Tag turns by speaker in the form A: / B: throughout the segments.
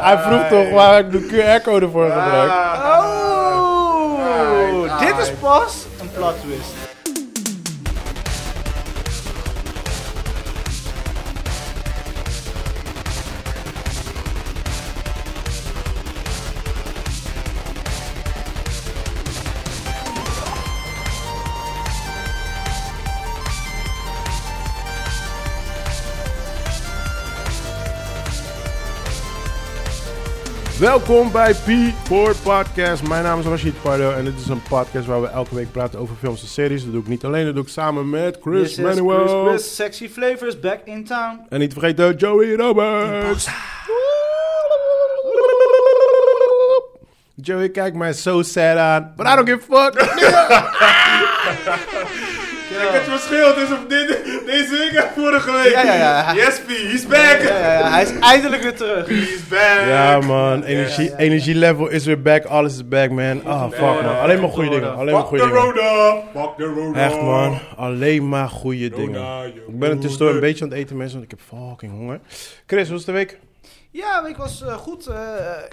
A: Hij vroeg toch waar ik de QR-code voor gebruik.
B: Oh,
C: Nice,
B: dit is
C: nice.
B: pas een plot twist.
A: Welkom bij P4 Podcast. Mijn naam is Rashid Pardo en dit is een podcast waar we elke week praten over films en series. Dat doe ik niet alleen, dat doe ik samen met Chris
B: This is
A: Manuel.
B: Chris, Chris, sexy flavors back in town.
A: En niet vergeten Joey Roberts. Joey kijkt mij zo sad aan, but I don't give a fuck.
C: Het verschil tussen dit, deze week en vorige week.
B: Ja, ja, ja.
C: Yes, P, he's back.
B: Ja, ja, ja, hij is eindelijk weer terug.
C: He's back.
A: ja man, energie, energielevel is weer back, alles is back man. Ah fuck man, alleen maar goede dingen, alleen maar
C: Fuck
A: goede
C: the
A: dingen.
C: road up. Fuck the road up.
A: Echt man, alleen maar goede
C: Rona,
A: dingen.
C: je
A: Ik ben het tussendoor een
C: broeder.
A: beetje aan het eten mensen, want ik heb fucking honger. Chris, hoe is de week?
B: Ja, ik was eh, goed. eh,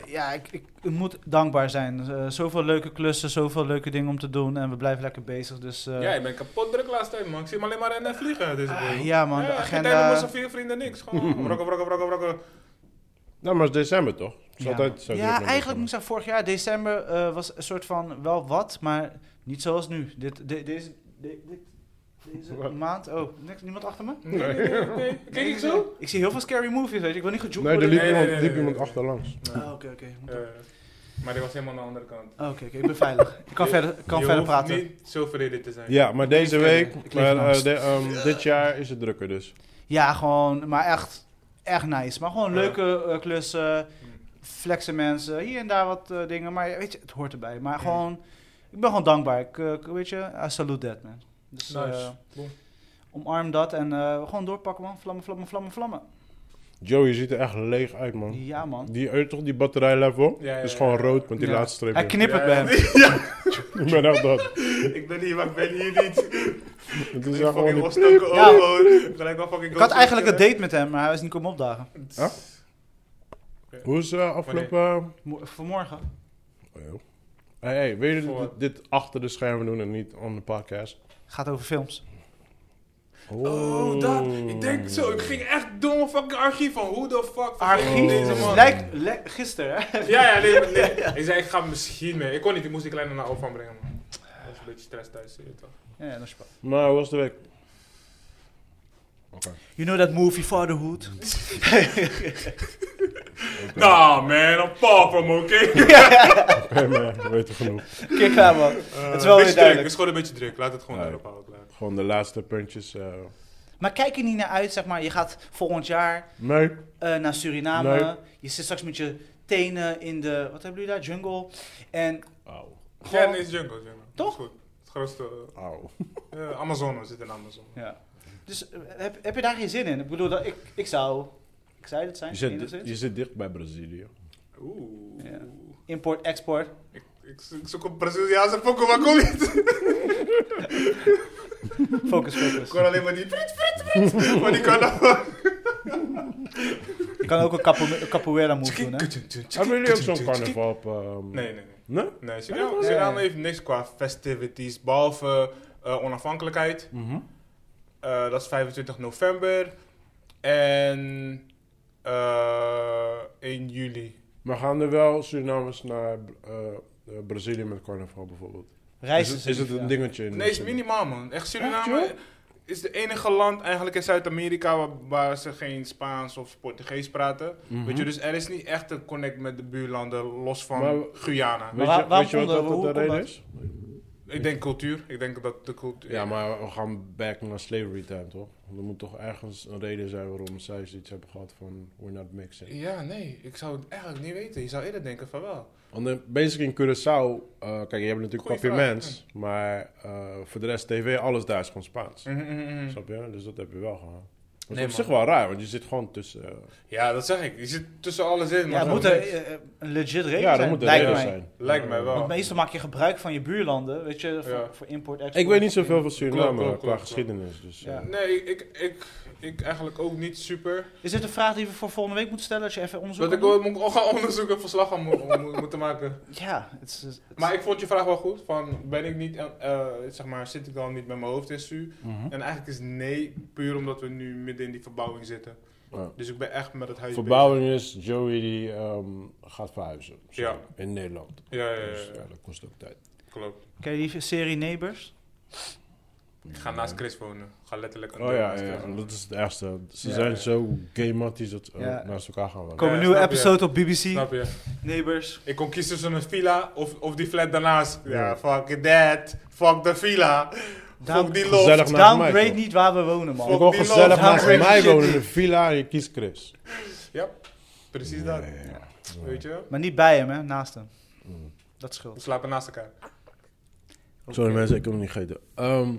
B: ja, ik, ik, ik moet dankbaar zijn. Eh, zoveel leuke klussen, zoveel leuke dingen om te doen. En we blijven lekker bezig. Dus eh,
C: Ja, ik ben kapot druk laatste tijd, man. Ik zie hem alleen maar rennen en vliegen deze
B: Ah,
C: week.
B: ja, man, de
C: geen
B: agenda-
C: tijd meer voor zoveel vrienden, niks. Gewoon rokken, rokken, rokken, rokken.
A: Nou, maar het is december toch? Het is
B: ja,
A: altijd- het is
B: man.
A: altijd
B: Ja,
A: december.
B: eigenlijk moet ik zeggen, vorig jaar december eh, was een soort van wel wat, maar niet zoals nu. Dit, de- deze, de- dit, deze
A: Wat?
B: maand. Oh, niks, niemand achter me?
C: Nee, nee, nee, nee. Kijk ik zo?
B: Ik zie heel veel scary movies, weet je. Ik wil niet gejoekt
A: Nee, er liep
C: Nee, nee,
A: iemand,
C: nee,
A: liep
C: nee,
A: iemand
C: nee.
A: achterlangs.
B: Ah, Oké, oké. Moet ah,
C: Eh, maar die was helemaal aan de andere kant.
B: Oké, oké, ik ben veilig. Ik kan
C: Je-
B: verder, ik kan
C: je
B: verder
C: hoeft
B: praten.
C: niet zo vrede te zijn.
A: Ja, maar deze
B: leef
A: week,
B: in- ik leef
A: maar,
B: in
A: eh,
B: angst.
A: de- ehm, dit jaar is het drukker dus.
B: Ja, gewoon, maar echt, echt nice. Maar gewoon
C: Ja.
B: leuke eh, klussen, flexen mensen, hier en daar wat eh, dingen. Maar weet je, het hoort erbij. Maar gewoon, ik ben gewoon dankbaar. Ik, eh, ik- weet je, I salute that, man. Dus eh,
C: Nice. Boom.
B: omarm dat en eh, gewoon doorpakken, man. Vlammen, vlammen, vlammen, vlammen.
A: Joey ziet er echt leeg uit, man.
B: Ja, man.
A: Die, eh, toch die batterijlevel?
C: Ja, ja,
A: is
C: ja.
A: gewoon rood met die
B: Ja.
A: laatste
B: Hij
A: streep.
B: knippert bij hem.
A: Ik ben echt dat.
C: Ik ben hier, maar ik ben hier niet.
A: Het is
C: Ik
A: echt gewoon
C: fucking oh,
A: die...
C: opstoken
B: Ja.
C: ogen. Gelijk wel fucking
B: Ik had eigenlijk een date met hem, maar hij is niet komen opdagen.
A: Huh? Hoe is eh, afgelopen...
B: Mo- vanmorgen.
A: Oh, joh. hey, hey, wil je
C: Voor-
A: dit, dit achter de schermen doen en niet on de podcast?
B: Gaat over films.
C: Oh, dat. Ik denk zo. Ik ging echt door mijn fucking archief van hoe de fuck.
B: Archief.
C: Oh, Deze man.
B: Lijkt, lijkt- gisteren, hè?
C: Ja, ja, nee, maar nee. Ik zei, ik ga misschien mee. Ik kon niet, ik moest die kleine naar Alphen brengen, man. Dat was een beetje stress thuis, je weet toch.
B: Ja, dat is spannend.
A: Maar hoe was de week?
B: You know that movie, Fatherhood?
C: Nah, man, I'm far from okay.
A: Oké, maar we weten genoeg.
B: Oké, klaar, man. het is wel weer
C: Beetje druk, het
B: duidelijk.
C: is gewoon een beetje druk. Laat het gewoon
A: Nee.
C: daarop houden, klaar.
A: Gewoon de laatste puntjes. eh
B: Maar kijk er niet naar uit, zeg maar. Je gaat volgend jaar
A: nee,
B: eh, naar Suriname.
A: Nee.
B: Je zit straks met je tenen in de, wat hebben jullie daar, jungle. En
A: Auw.
C: Ja,
B: gewoon...
C: nee, het is jungle, jungle.
B: Toch?
C: Goed. Het grootste...
A: Auw.
C: eh, eh, Amazone zit in Amazon.
B: ja. Dus eh, heb, heb je daar geen zin in? Ik bedoel, dat, ik, ik zou... Ik zou het zijn,
A: Je zit,
B: enigszins.
A: je zit dicht bij Brazilië.
C: Oeh.
B: Ja. Import, export.
C: Ik, ik, zo- ik zoek een Braziliaanse pokoe, maar kom niet.
B: Focus,
C: Ik hoor
B: focus.
C: alleen maar die friet, friet, friet. Maar die kan dan...
B: Je kan ook een capo- capoeira move doen, hè?
A: Hebben jullie ook zo'n carnaval op...
B: eh,
A: ehm,
C: Nee, nee, nee.
A: Nee?
C: Nee, Suriname, Suriname heeft niks qua festivities, behalve eh, onafhankelijkheid.
A: Mhm.
C: Eh, dat is 25 november. En eh 1 juli.
A: Maar gaan er wel Surinamers naar eh, eh, Brazilië met carnaval bijvoorbeeld?
B: Reizen
A: is
B: ze
A: het, is het
B: liever,
A: een
B: ja.
A: dingetje? In
C: Nee, is minimaal man. Echt Suriname is het enige land eigenlijk in Zuid-Amerika waar, waar ze geen Spaans of Portugees praten.
A: Mhm.
C: Weet je, dus er is niet echt een connect met de buurlanden los van
A: Maar-
C: Guyana.
A: Weet
B: waar-
A: je, weet je
B: waarom
A: wat dat,
B: onder-
A: dat de
B: hoe komt
A: reden
B: dat?
A: is?
C: Ik denk cultuur. Ik denk dat de cultuur.
A: Ja, maar we gaan back naar slavery time, toch? Er moet toch ergens een reden zijn waarom zij zoiets hebben gehad van... We're not mixing.
C: Ja, nee, ik zou het eigenlijk niet weten. Je zou eerder denken van wel.
A: Want eh, basic in Curaçao... eh, kijk, je hebt natuurlijk
C: Goeie
A: papiermens. Maar eh, voor de rest tv, alles daar is gewoon Spaans.
C: Mhm, mhm, mhm.
A: Snap je? Dus dat heb je wel gehad. Dat is
C: Nee,
A: op
C: man.
A: zich wel raar, want je zit gewoon tussen... eh,
C: Ja, dat zeg ik. Je zit tussen alles in.
B: Ja,
C: maar
B: het moet
C: wel.
B: er, eh, eh, een legit reden
A: ja, dat
B: zijn,
A: moet een
B: lijkt
A: reden
B: mij.
A: zijn.
C: Lijkt mij wel.
B: Want meestal maak je gebruik van je buurlanden, weet je, voor,
C: Ja.
B: voor import, export.
A: Ik weet niet zoveel van Suriname
C: Klopt, klopt,
A: qua
C: klopt, klopt.
A: geschiedenis. Dus,
B: Ja.
A: eh,
C: Nee, ik, ik, ik eigenlijk ook niet super.
B: Is dit een vraag die we voor volgende week moeten stellen als je even onderzoek
C: Dat ik
B: wil
C: wel moet gaan onderzoeken en verslag aan mo- mo- moeten maken.
B: doen? Ja, het is... het is-
C: Maar ik vond je vraag wel goed. Van ben ik niet, eh, eh, zeg maar, zit ik dan niet met mijn hoofd in su?
B: Mhm.
C: En eigenlijk is nee, puur omdat we nu midden in die verbouwing zitten.
A: Ja.
C: Dus ik ben echt met het huis
A: Verbouwing is, Joey die ehm, gaat verhuizen. zeg
C: Ja. Eh,
A: maar, In Nederland.
C: bezig. Ja, ja,
A: Dus
C: ja,
A: ja,
C: ja,
A: dat kost ook tijd.
C: klopt.
B: Ken je die serie Neighbors?
C: Ik ga naast Chris wonen. Ik ga letterlijk een
A: Oh
C: deur
A: ja,
C: naast
A: ja,
C: Chris
A: ja,
C: wonen.
A: dat is het ergste. Ze
C: Ja,
A: zijn
C: ja.
A: zo gamatisch dat ze
B: Ja.
A: ook naast elkaar gaan wonen.
B: Er komt
C: Ja,
B: een nieuwe
C: snap je.
B: episode op BBC.
C: Snap je?
B: Neighbors.
C: Ik kon kiezen tussen een villa of, of die flat daarnaast.
A: Ja.
C: Ja, fuck that. Fuck de villa.
B: Daarom-
C: Fuck die
A: Gezellig
C: loft.
A: naast mij,
B: Downgrade
A: toch?
B: niet waar we wonen, man.
A: Ik
C: Fuck
A: wil
C: die
A: gezellig
C: lol.
A: naast
B: Hamer
A: mij
B: shit
A: wonen in
B: niet.
A: een villa en je kiest Chris.
C: Ja, precies
A: Ja,
C: dat.
A: ja, ja.
C: Weet je?
B: Maar niet bij hem, hè. Naast hem.
A: Mm.
B: Dat
C: We
B: scheelt.
C: slapen naast elkaar.
A: Sorry mensen, ik heb het niet gegeten. Ehm,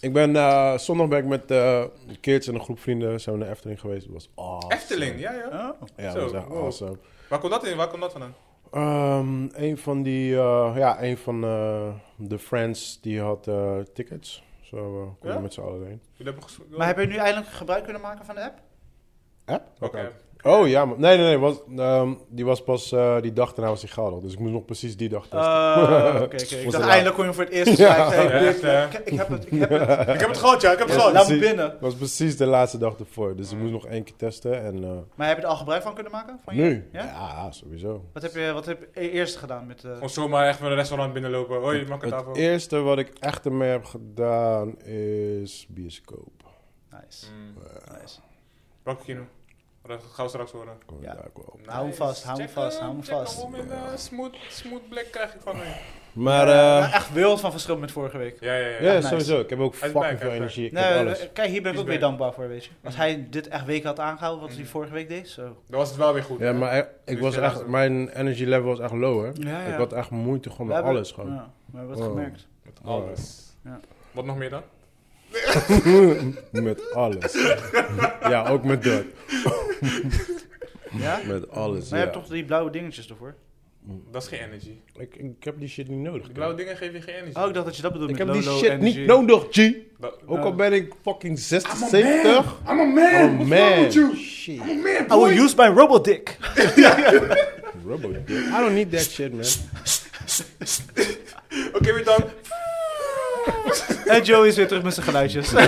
A: ik ben eh, zondag ben ik met eh, de kids en een groep vrienden zijn we naar Efteling geweest. Dat was awesome.
C: Efteling, ja, ja.
B: Oh.
A: Ja,
C: Zo,
A: dat was echt
C: wow.
A: awesome.
C: Waar komt dat in? Waar komt dat vandaan?
A: Ehm, een van die, eh, ja, een van eh, de friends die had eh, tickets. Zo eh, konden we
C: Ja?
A: met z'n allen heen.
C: Jullie hebben gesproken?
B: Maar hebben jullie eindelijk gebruik kunnen maken van de app?
A: App?
C: Oké.
A: Oh ja, maar, nee, nee, nee. Was, ehm, die was pas eh, die dag daarna was die geldig. Dus ik moest nog precies die dag
C: Eh,
A: testen.
B: Eh, Oké, oké. Ik
A: Moet
B: dacht
A: er
B: eindelijk kon je hem voor het eerst
A: Ja.
B: gebruiken. Hey,
C: Ja,
B: ik-
C: echt,
B: ik, ik heb het, ik heb het.
C: Ik heb het gehad, ja. Ik heb het
A: Ja,
C: gehad.
B: Laat me
A: zie-
B: binnen.
A: Het was precies de laatste dag ervoor. Dus ik moest nog één keer testen. En eh,
B: Maar heb je er al gebruik van kunnen maken? Van je?
A: nu?
B: Mm. Oh, Ja?
A: Ja? sowieso.
B: Wat heb je, wat heb je eerst gedaan met... eh
C: Gewoon zomaar echt met een restaurant binnenlopen. Hoi, mag ik een
A: het
C: tafel?
A: eerste wat ik echt ermee heb gedaan is bioscoop.
B: Nice.
C: Mm.
B: nice.
C: Welke kino? Oh, Dat gaan we straks horen.
A: Kom
B: Ja.
A: daar ook wel op.
B: Hou hem vast, hou hem
C: Check
B: vast, hou hem
C: check
B: vast.
C: Om in eh, smooth, smooth blik krijg ik van me.
A: Maar
B: Ja,
A: eh,
B: nou, echt wild van verschil met vorige week.
C: Ja, ja, ja.
A: ja,
B: nice.
A: sowieso. Ik heb ook
C: Hij is
A: fucking
C: back,
A: veel
C: hij is
A: energie. Ik heb
B: Nee, eh,
A: alles.
B: kijk, hier ben ik
C: He's
B: ook weer
C: back.
B: dankbaar voor, weet je. Als hij dit echt week had aangehouden, wat hij vorige week deed, zo.
C: Dat was het wel weer
B: eh,
C: goed.
A: Ja, maar ik- ik
C: Dus
A: was
C: je
A: echt,
C: laat-
A: mijn energy level was echt low, hè.
B: Ja, ja.
A: Ik had echt moeite gewoon
B: We
A: met
B: hebben-
A: alles. Gewoon. Oh.
B: Ja, maar we hebben het
A: Wow.
B: gemerkt.
C: Met alles.
B: Ja.
C: Wat nog meer dan?
A: met alles. ja, ook met dat.
B: Ja?
A: Met alles,
B: Maar je
A: ja.
B: hebt toch die blauwe dingetjes ervoor?
C: Dat is geen energy.
A: ik, ik heb die shit niet nodig.
C: Die blauwe dingen geven je geen energy.
B: Oh, ik dacht dat je dat bedoelde
A: ik
B: met
A: heb die
B: low, low
A: shit
B: energy.
A: niet nodig, G.
C: Dat-
A: Ook
B: Ja.
A: al ben ik fucking 60, 70.
C: I'm a man!
A: Oh man.
B: I will use my robodick.
A: Robot dick. I don't need that shit, man.
C: Oké, weer dan.
B: En Joey is weer terug met zijn geluidjes.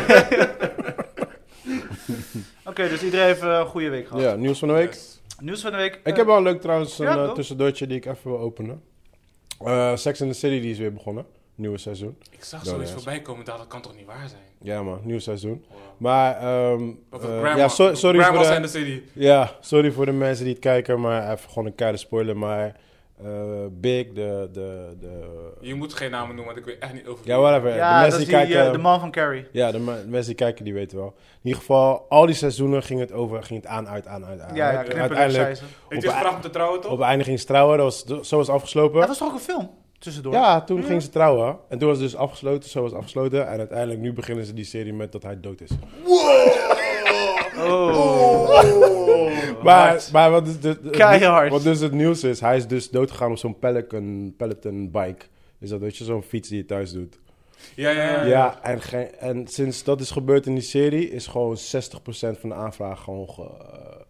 B: Oké, dus iedereen heeft eh, een goede week gehad.
A: Ja, nieuws van de week.
C: Yes.
B: Nieuws van de week.
A: Ik
B: eh,
A: heb wel leuk trouwens een
B: ja,
A: eh,
B: toch?
A: tussendoortje die ik even wil openen. Eh, Sex in the City die is weer begonnen. Nieuwe seizoen.
C: Ik zag
A: Dat
C: zoiets
A: is.
C: voorbij komen, dat, dat kan toch niet waar zijn?
A: Ja man, nieuw seizoen.
C: Wow.
A: Maar, ehm,
C: Of een
A: eh,
C: grandma.
A: ja, so- sorry voor
C: Grandma's
A: de,
C: in the city.
A: Ja, sorry voor de mensen die het kijken, maar even gewoon een keiharde spoiler. Maar eh, Big, de, de, de...
C: Je moet geen namen noemen, want ik weet echt niet over wie.
A: Ja, whatever. de
B: ja,
A: mensen
B: dat is
A: die
B: die, eh,
A: kijken...
B: de man van Carrie.
A: ja, de, me- mensen die kijken, die weten wel. In ieder geval, al die seizoenen ging het over, ging het aan, uit, aan, uit, aan.
B: Ja, ja,
A: uit.
B: knipperlijk zei
A: Uiteindelijk,
B: ze.
C: Het
A: op,
C: is
A: het
C: vraag om te trouwen, toch?
A: op het einde ging ze trouwen, dat was, dat- zo was het afgeslopen.
B: Dat was toch ook een film? Tussendoor.
A: Ja, toen ging ze trouwen. En toen was het dus afgesloten, zo was het afgesloten. En uiteindelijk, nu beginnen ze die serie met dat hij dood is.
C: Oh.
A: Maar, maar wat, dus, de- de-
B: Keihard.
A: wat dus het nieuws is, hij is dus doodgegaan op zo'n Pelican, Peloton bike. Is dat, weet je, zo'n fiets die je thuis doet.
C: Ja, ja, ja.
A: Ja, en, ge- en sinds dat is gebeurd in die serie, is gewoon 60% van de aanvragen gewoon ge-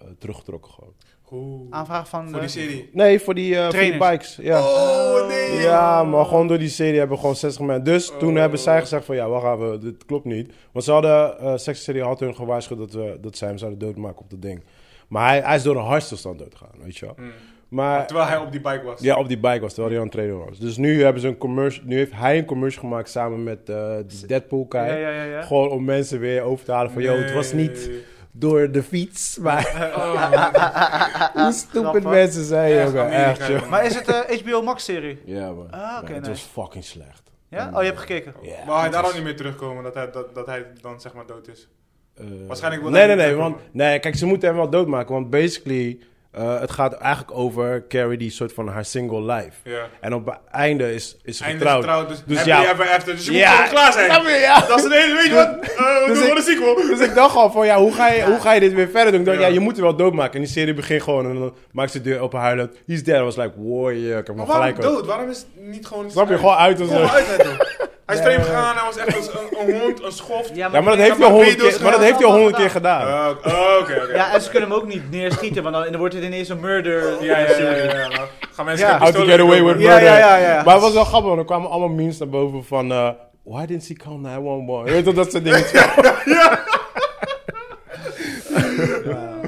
A: eh, teruggetrokken. Gewoon.
C: Oeh.
B: Aanvraag van...
C: Voor
B: eh,
C: die serie.
A: Nee, voor die, eh, voor die
B: Trainers.
A: bikes. Ja.
C: Oh, nee.
A: ja, maar gewoon door die serie hebben gewoon 60 mensen. Dus toen
C: Oh.
A: hebben zij gezegd van, ja, wacht even, dit klopt niet. Want ze hadden, eh Sex City had hun gewaarschuwd dat, we, dat zij hem zouden doodmaken op dat ding. Maar hij, hij is door een hartstilstand doodgegaan, weet je wel.
C: Hmm.
A: Maar
C: Terwijl hij op die bike was.
A: Ja, op die bike was, terwijl hij aan het trainen was. Dus nu, hebben ze een commercial, nu heeft hij een commercial gemaakt samen met eh, die Deadpool guy.
B: Ja, ja, ja. ja.
A: Gewoon om mensen weer over te halen van, yo, het was niet
C: Nee.
A: door de fiets, maar
C: Oh,
A: hoe stupid
B: Grappig.
A: mensen zijn,
C: Echt,
A: jongen.
C: Amerika,
A: Echt, joh.
C: jongen.
B: Maar is het eh, een HBO Max serie?
A: Ja, man.
B: Ah, oké,
A: Ja, het
B: nice.
A: was fucking slecht.
B: Ja? Oh, je hebt gekeken.
A: Ja, dus-
C: Wou hij
A: het
C: daar
A: was-
C: al niet meer terugkomen, dat hij, dat, dat hij dan zeg maar dood is?
A: Eh,
C: Waarschijnlijk wil
A: nee,
C: hij
A: nee,
C: niet
A: nee, want,
C: terugkomen.
A: nee. Kijk, ze moeten hem wel doodmaken. Want basically, eh, het gaat eigenlijk over Carrie, die soort van haar single life.
C: Ja.
A: En op het einde is, is ze
C: Eindelijk
A: getrouwd.
C: getrouwd, dus,
A: Dus
C: happy
A: ja.
C: ever after. Dus je
A: Ja.
C: moet gewoon klaar
A: Snap
C: zijn.
A: je? Ja.
C: Dat is een hele, weet je wat? Eh, we doen
A: ik-
C: gewoon een sequel.
A: Dus ik dacht al van, ja, hoe ga je, hoe ga je dit weer verder doen? Ik dacht, ja.
C: Ja.
A: je moet er wel doodmaken. En die serie begint gewoon en dan maakt ze de deur open huilen. He's dead. I was like, wow, yeah, ik heb hem
C: Maar waarom
A: gelijk. ook.
C: dood? Waarom is het niet gewoon...
A: Snap je? Gewoon uit en zo.
C: Kom maar uit, uit, joh. Hij is vreemd gegaan, hij was echt als een, een hond, een schoft.
B: Ja,
A: Ja, maar dat
C: Ik
A: heeft hij
C: heb
A: al honderd
C: video's
A: keer, maar dat
C: gedaan.
A: heeft hij al honderd keer gedaan.
C: Oh, Oké, oké, oké.
D: Ja, en ze kunnen hem ook niet neerschieten, want dan, dan wordt het ineens een murder.
C: Ja, ja, ja, ja, ja, maar Gaan mensen
B: Ja.
C: geen
A: How to
C: pistolen
A: get away
C: kopen?
A: with
B: Ja,
A: murder.
B: ja, ja, ja.
A: Maar het was wel grappig, want er kwamen allemaal memes naar boven van... eh, Why didn't he call 911? Je Weet je, dat soort dingen.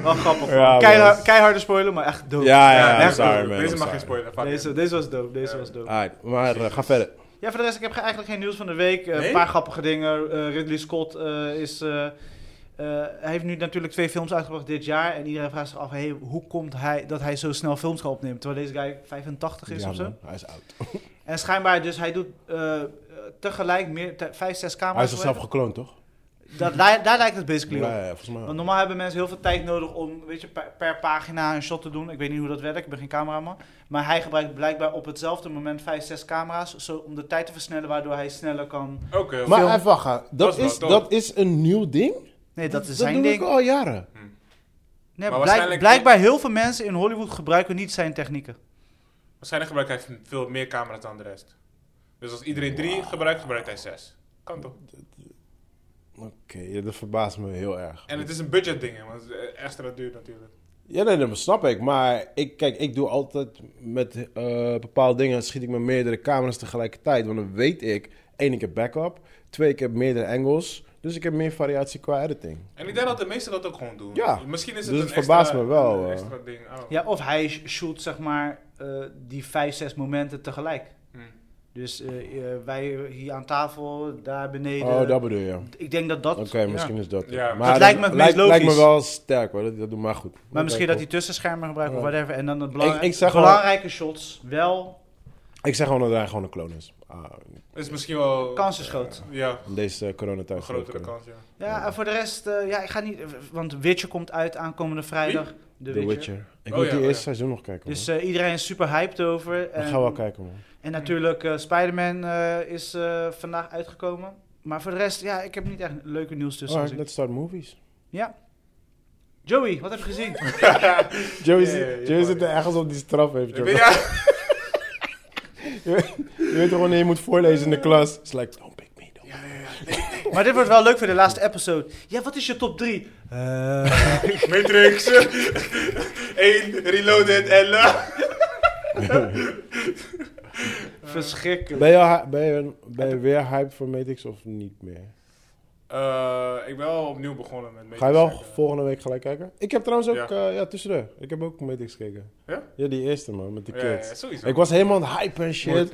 B: Wel grappig.
A: Ja,
B: man. Keiha-
A: man.
B: keiharde spoiler, maar echt dope.
A: Ja, ja,
C: Ja,
A: ja.
B: echt
A: Sorry,
B: dope.
A: man.
C: Deze
A: I'm
C: mag
A: sorry.
C: geen spoiler. fuck
B: Deze,
C: it.
B: deze was dope, deze was dope.
A: Alright, maar eh, ga verder.
B: Ja, voor de rest, ik heb ge- eigenlijk geen nieuws van de week. Eh, Een
C: Nee?
B: paar grappige dingen. Eh, Ridley Scott eh, is... eh, eh, hij heeft nu natuurlijk twee films uitgebracht dit jaar. En iedereen vraagt zich af, hey, hoe komt hij dat hij zo snel films kan opnemen? Terwijl deze guy 85 is
A: Ja,
B: of zo. Ah,
A: man, Hij is oud.
B: En schijnbaar, dus hij doet eh, eh, tegelijk meer, te- vijf, zes
A: Hij
B: camera's.
A: is zichzelf gekloond, toch?
B: dat, daar, daar lijkt het basically op.
A: Ja, ja, volgens mij.
B: Want
A: wel.
B: normaal hebben mensen heel veel tijd nodig om weet je, per, per pagina een shot te doen. Ik weet niet hoe dat werkt, ik ben geen cameraman. Maar hij gebruikt blijkbaar op hetzelfde moment vijf, zes camera's zo, om de tijd te versnellen, waardoor hij sneller kan...
C: Oké,
A: Maar
B: film.
A: even wachten, dat
C: Dat is
A: is,
C: wel dope.
A: dat is een nieuw ding?
B: Nee, dat is
A: Dat
B: zijn
A: doe ik
B: ding.
A: al jaren.
B: Nee,
C: Maar
B: blijk-
C: waarschijnlijk-
B: blijkbaar heel veel mensen in Hollywood gebruiken niet zijn technieken.
C: waarschijnlijk gebruikt hij veel meer camera's dan de rest. Dus als iedereen drie gebruikt, gebruikt hij zes. Kan toch?
A: Oké, ja, dat verbaast me heel erg.
C: En het is een budget ding, want het is eh, extra duur natuurlijk.
A: Ja, nee, dat snap ik. Maar ik, kijk, ik doe altijd met eh, bepaalde dingen... schiet ik met meerdere camera's tegelijkertijd. Want dan weet ik, één, ik heb backup. Twee, ik heb meerdere angles. Dus ik heb meer variatie qua editing.
C: En ik denk dat de meesten dat ook gewoon doen.
A: Ja.
C: Misschien is het
A: Dus
C: een
A: het verbaast
C: extra,
A: me wel,
C: een
A: eh.
C: extra ding. Oh.
B: Ja, of hij sh- shoot zeg maar eh, die vijf, zes momenten tegelijk.
C: Hm.
B: Dus eh, eh, wij hier aan tafel, daar beneden.
A: Oh, dat bedoel je.
B: Ik denk dat dat...
A: Oké, misschien is dat.
C: Ja.
B: Dat lijkt me het meest
A: lijkt, lijkt me
B: logisch.
A: wel sterk hoor, dat, dat doet maar goed.
B: Maar misschien dat
A: hij.
B: hij tussenschermen gebruikt of
A: Ja.
B: whatever. En dan de belang-
A: Ik- ik zeg wel-
B: belangrijke shots wel
A: Ik zeg gewoon dat hij gewoon een kloon is. Ah,
C: Is misschien wel...
B: kansen schoot.
C: Ja,
A: in deze
C: een
A: coronatijd. eh, zou dat
C: grotere
A: kunnen.
C: kans, ja.
B: Ja, en voor de rest, eh, ja, ik ga niet... Want Witcher komt uit aankomende vrijdag. De
A: The
B: Witcher.
A: Witcher. Ik
C: Oh,
A: moet
C: ja,
A: die
C: oh,
A: eerste
C: ja.
A: seizoen nog kijken.
B: Dus
A: Dus, eh,
B: eh, iedereen is super hyped over.
A: ik
B: En,
A: ga wel kijken man.
B: En natuurlijk, eh, Spider-Man eh, is eh, vandaag uitgekomen. Maar voor de rest, ja, ik heb niet echt leuke nieuws tussen.
A: Alright,
B: gezien.
A: let's start movies.
B: Joey, wat heb je gezien?
A: Joey,
C: Ja, ja,
A: zit-
C: ja,
A: Joey
C: ja.
A: zit er ergens op die straf heeft.
C: Ik
A: Joey.
C: weet, ja.
A: Je weet toch wanneer je moet voorlezen in de klas? It's like, don't pick me. Don't.
B: maar dit wordt wel leuk voor de laatste episode. Ja, wat is je top Eh, 3?
C: Matrix. 1, Reloaded en... eh. la-
B: Verschrikkelijk.
A: Ben, je, al hy- ben, je, ben je weer hyped voor Matrix of niet meer?
C: Eh, ik ben wel opnieuw begonnen met
A: Ga je wel
C: Matrix.
A: volgende week gelijk kijken? Ik heb trouwens ook,
C: Ja.
A: ja, ja tussendoor. Ik heb ook Matrix gekeken.
C: Ja?
A: Ja, die eerste man, met de
C: Ja,
A: kids.
C: ja, ja, sowieso.
A: Ik was helemaal aan het hype en shit.